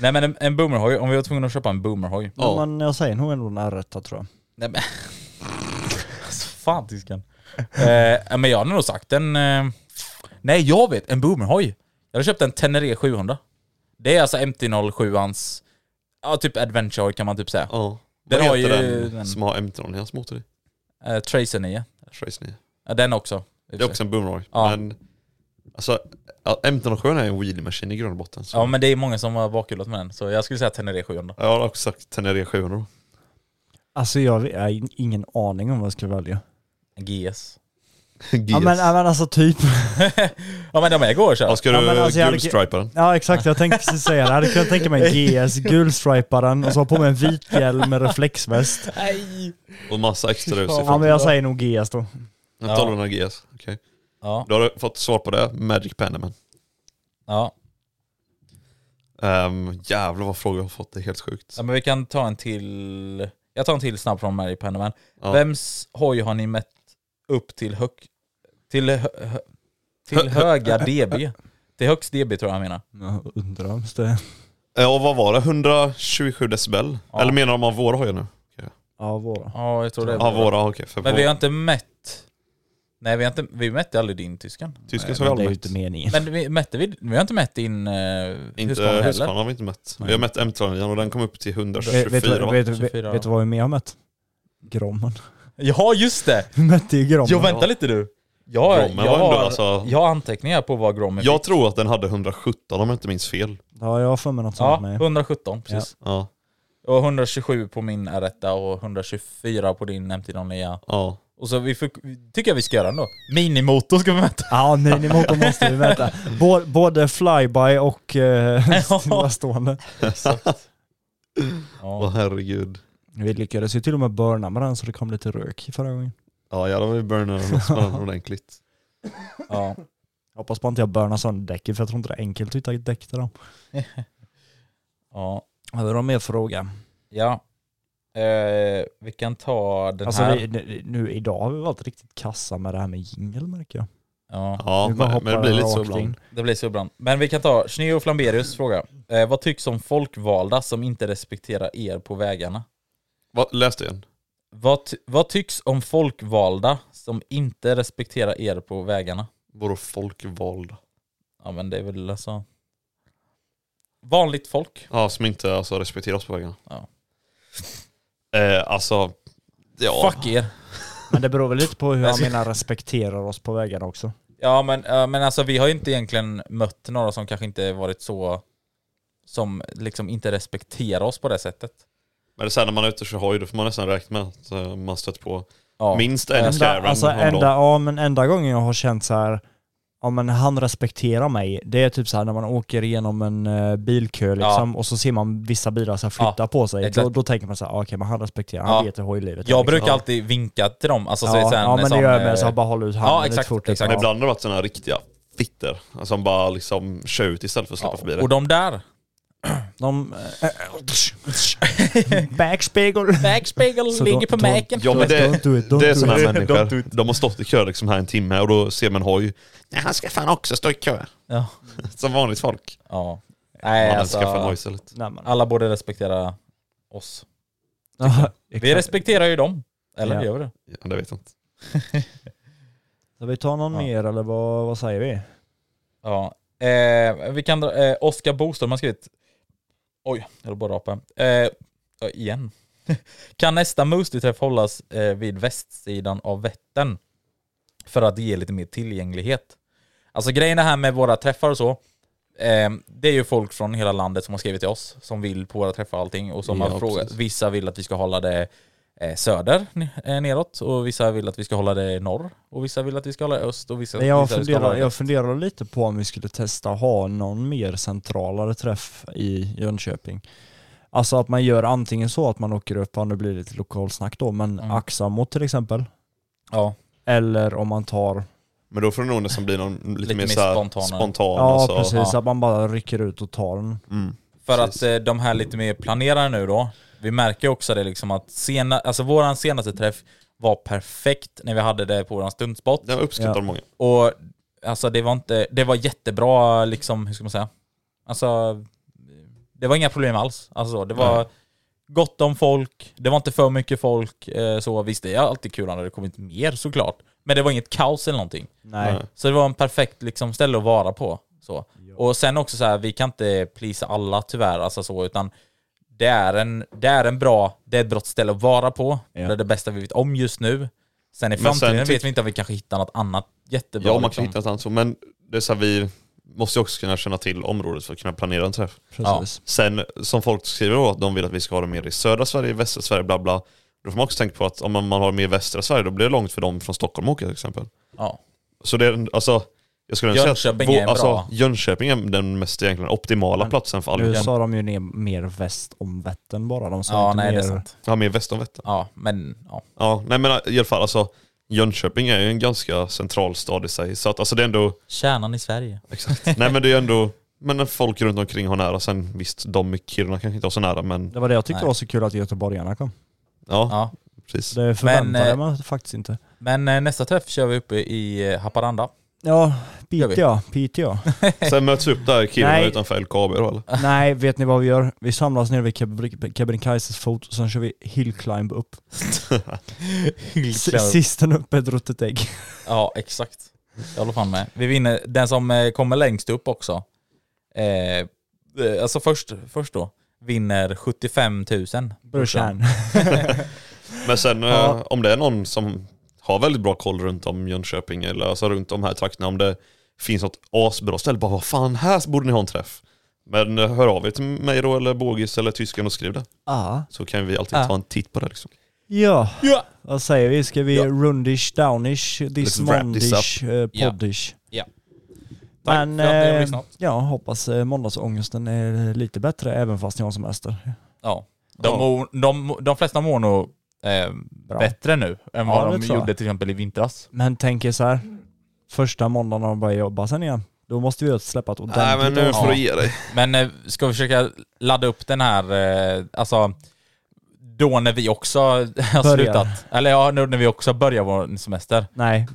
Nej men en, en boomerhoj, om vi var tvungna att köpa en boomerhoj. Ja. Men jag säger nog ändå en R1 tror jag. Nej men... alltså fan tyskan. eh, men jag hade nog sagt en... Eh... Nej jag vet, en boomerhoj. Jag hade köpt en Tenere 700. Det är alltså MT-07ans... Ja typ adventure kan man typ säga. Ja. Den Vad har heter ju den, den- som har M-tron i hans motor i? Eh, Tracer 9. Trace 9. Ja, den också. Det är också en boomerhoj. Ja. Men alltså, ja, M307 är en wheelie machine i grund och botten. Så. Ja men det är många som har bakhjulat med den, så jag skulle säga Tenere 700. Jag har också sagt Tenere 700. Alltså jag har ingen aning om vad jag skulle välja. En GS. GS. Ja men, ja men alltså typ. Ja men de är går så. Ja, ska Ja, du men alltså, jag hade- gulstripa den? Ja exakt, jag tänkte precis säga det. Jag hade kunnat tänka mig en GS, gulstriparen och så ha på mig en vit hjälm med reflexväst. Och massa extra rus Ja men jag säger nog GS då. Jag talar om GS. Okej. Ja, Då har du fått svar på det. Magic Pandaman. ja. Um, jävlar vad frågor jag har fått. Det är helt sjukt. ja men vi kan ta en till. Jag tar en till snabb från Mary Pennerman. Ja. Vems hoj har ni mätt upp till hög... Till, hö, hö, till höga DB? Till högst DB tror jag han menar. Undrar om det... Ja, Eh, vad var det? 127 decibel? Ja. Eller menar de av våra hojar nu? Ja våra. Ja jag tror det. Ja, våra. Okej. för Men vår- vi har inte mätt... Nej vi, har inte, vi mätte aldrig din tyskan. Tysken Det som vi är aldrig ju mätt. inte meningen. Men vi, mätte vi, vi har inte mätt din uh, Inte Husqvarna heller. Husqvarna har vi inte mätt. Vi har mätt M39 och den kom upp till 124 Vet- Vet du va? vet, vet, 24, vet du vad vi mer har mätt? Grommen. Ja just det! Vi mätte ju grommen. Jo vänta lite du. Jag, Grommen jag, var ändå, har, alltså- jag har anteckningar på vad Grommen Jag fick. tror att den hade 117 om jag inte minns fel. Ja jag har för mig något Ja, sånt med. 117 precis. Ja, Och 127 på min R1 och 124 på din MT09. ja. Och så vi fick, tycker jag vi ska göra ändå. Minimotor ska vi mäta. Ja, minimotorn måste vi mäta. Bå- Både flyby och eh, stillastående. Åh Ja. herregud. Vi lyckades ju till och med burna med den så det kom lite rök förra gången. Ja jävlar vad vi burnade den loss med den ordentligt. ja. Jag hoppas bara inte jag burnar sönder däcket för jag tror inte det är enkelt att hitta ett däck till dem. ja. Har du mer fråga? ja. Eh, vi kan ta den Alltså här. vi, nu- nu idag har vi varit riktigt kassa med det här med jingel märker jag. Ja, Ja Vi bara men, hoppar men det blir lite så rakt ibland. in. det blir så ibland. Men vi kan ta Schnee och Flamberius fråga. Eh, vad tycks om folkvalda som inte respekterar er på vägarna? Va, läs det igen. Vad, ty- vad tycks om folkvalda som inte respekterar er på vägarna? Vadå folkvalda? Ja men det är väl alltså... Vanligt folk. Ja som inte alltså, respekterar oss på vägarna. Ja. Eh, alltså, ja. Fuck er. Men det beror väl lite på hur Jag han ska- menar respekterar oss på vägarna också. Ja men, eh, men alltså vi har ju inte egentligen mött några som kanske inte varit så... Som liksom inte respekterar oss på det sättet. Men det är så här, när man är ute och kör hoj då får man nästan räkna med att eh, man stött på Ja. minst en Enda, Scarran alltså om dagen. enda, ja, men enda gången jag har känt så här, ja men han respekterar mig, det är typ så här när man åker igenom en eh, bilkö liksom och så ser man vissa bilar så här flytta Ja, på sig. Då, exakt. då tänker man så här, ah, okej men han respekterar, Ja. han vet hur hojlivet Jag liksom. brukar alltid vinka till dem. Alltså, så ja, är så här ja en men det sån, gör jag med, eh, så jag bara håller ut handen ja, lite exakt, fort. liksom. exakt. Men Ja. ibland har det varit sådana riktiga fitter som bara liksom kör ut istället för att släppa förbi det. Och de där. De... eh, Backspegel! Backspegel Så då- ligger på då- mäken. Ja men det, Don't do it, don't det är do sådana it. här Don't do människor. it. De har stått i kö liksom här en timme och då ser man en hoj. Nej han ska fan också stå i kö. Ja. Som vanligt folk. ja. Man Nej hade alltså. skaffat en hoj istället. Nej, men- Alla borde respektera oss. Ja, Vi exakt. respekterar ju dem. Eller Ja. gör vi det? Ja, det vet jag inte. Ska vi ta någon Ja. mer eller vad, vad säger vi? Ja. Eh, vi kan dra, eh, Oskar Boström har skrivit. Oj, jag höll på att rapa. Eh, ja, igen. kan nästa Moostie-träff hållas eh, vid västsidan av Vättern? För att ge lite mer tillgänglighet. Alltså grejen är här med våra träffar och så. Eh, det är ju folk från hela landet som har skrivit till oss. Som vill på våra träffar och allting. Och som Ja, har frågat. precis. Vissa vill att vi ska hålla det eh, söder ne- eh, neråt. Och vissa vill att vi ska hålla det norr. Och vissa vill att vi ska hålla det öst. Och vissa, Nej, Jag vissa vill att vi ska funderar, hålla det- jag funderar lite på om vi skulle testa att ha någon mer centralare träff i Jönköping. Alltså att man gör antingen så att man åker upp, ja, nu blir det lite lokalsnack då, men Mm. Axamo till exempel. Ja. Eller om man tar, Men då får det nog nästan bli någon lite, Lite mer, mer såhär spontanare. spontan. ja alltså. precis, ja. att man bara rycker ut och tar den. Mm. För Precis. att eh, de här lite mer planerade nu då, vi märker också det liksom att sena, alltså våran senaste träff var perfekt när vi hade det på våran stuntspot. Det uppskattar Ja. många. Och alltså det var inte, det var jättebra liksom, hur ska man säga? Alltså, det var inga problem alls. Alltså det var gott om folk, det var inte för mycket folk. Eh, så visst, det är alltid kul när det kommer inte mer såklart. Men det var inget kaos eller någonting. Nej. Nej. Så det var en perfekt liksom, ställe att vara på. Så. Och sen också så här, vi kan inte plisa alla tyvärr, alltså så, utan det är, en, det är en bra, det är ett bra ställe att vara på. Ja. Det är det bästa vi vet om just nu. Sen i Men sen framtiden tyck- vet vi inte om vi kanske hittar något annat jättebra. Ja man liksom. kan hitta ett annat så. Men det är så här, vi måste ju också kunna känna till området för att kunna planera en träff. Precis. Sen som folk skriver då att de vill att vi ska ha det mer i södra Sverige, västra Sverige, bla bla. Då får man också tänka på att om man man har det mer i västra Sverige då blir det långt för dem från Stockholm att åka till exempel. Ja. Så det är, en- alltså, jag skulle ändå säga att Jönköping är vå- bra. alltså, Jönköping är den mest egentligen optimala platsen för Nu Albin. sa de ju ner, mer väst om Vättern bara. De sa Ja, inte nej mer... det är sant. Ja, mer väst om Vättern. Ja, men ja. Ja, nej men i alla fall alltså Jönköping är ju en ganska central stad i sig. Så att alltså det är ändå, Kärnan i Sverige. exakt. nej men det är ändå, men folk runt omkring har nära. Sen visst, de i Kiruna kanske inte har så nära men Det var det jag tyckte Nej. var så kul att göteborgarna kom. ja, Ja. precis. Det förväntade eh, man faktiskt inte. Men eh, nästa träff kör vi uppe i eh, Haparanda. Ja, gör vi. Piteå. Piteå. Sen möts vi upp där i Kiruna Nej. utanför LKAB då eller? Nej, vet ni vad vi gör? Vi samlas nere vid Kebri- Kebnekaises fot och sen kör vi hillclimb upp. S- Sisten upp är ett ruttet ägg. Ja, exakt. Jag håller fan med. Vi vinner. Den som eh, kommer längst upp också, eh, eh, alltså först, först då, vinner 75 000. Brorsan. Men sen eh, Ja. om det är någon som har väldigt bra koll runt om Jönköping eller alltså runt de här trakterna, om det finns något asbra ställe, bara vad fan här borde ni ha en träff. Men eh, hör av er till mig då eller Bogis eller tysken och skriv det. Ah. Så kan vi alltid Ja. ta en titt på det liksom. Ja, Ja! vad säger vi? Ska vi Ja. rundish, downish, Let's wrap this dismondish, eh, Ja. poddish? Ja. Tack Men för att ni har eh, lyssnat. ja, hoppas eh, måndagsångesten är lite bättre även fast ni har semester. Ja. De, Ja. mår- de, de flesta mår nog eh, bättre nu än vad Ja, det de tror jag. gjorde till exempel i vintras. Men tänk er så här. första måndagen när de börjar jobba sen igen, då måste vi släppa ett ordentligt Nej men nu får Ja. du ge dig. Men eh, ska vi försöka ladda upp den här, eh, alltså då när vi också har Börjar. slutat. Eller ja, nu när vi också börjar vår semester. Nej,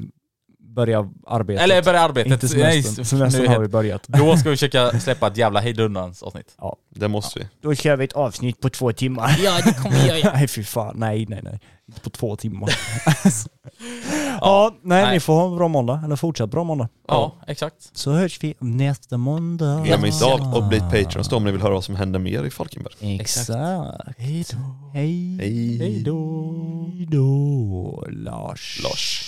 börja arbetet. Eller börjar arbetet. Inte semestern. Nej, Semestern nu har är- vi börjat. Då ska vi försöka släppa ett jävla hejdundrans avsnitt. Det måste vi. Då kör vi ett avsnitt på två timmar. Ja, det kommer vi göra. nej fy fan, nej nej nej. Inte på två timmar. ja, nej, nej. ni får ha en bra måndag, eller fortsatt bra måndag. Ja, exakt. Så hörs vi nästa måndag. Glöm inte av och bli Patreons då om ni vill höra vad som händer mer i Falkenberg. Exakt. Hej då. Hej. Hej. då. Hej då, Lars. Lars.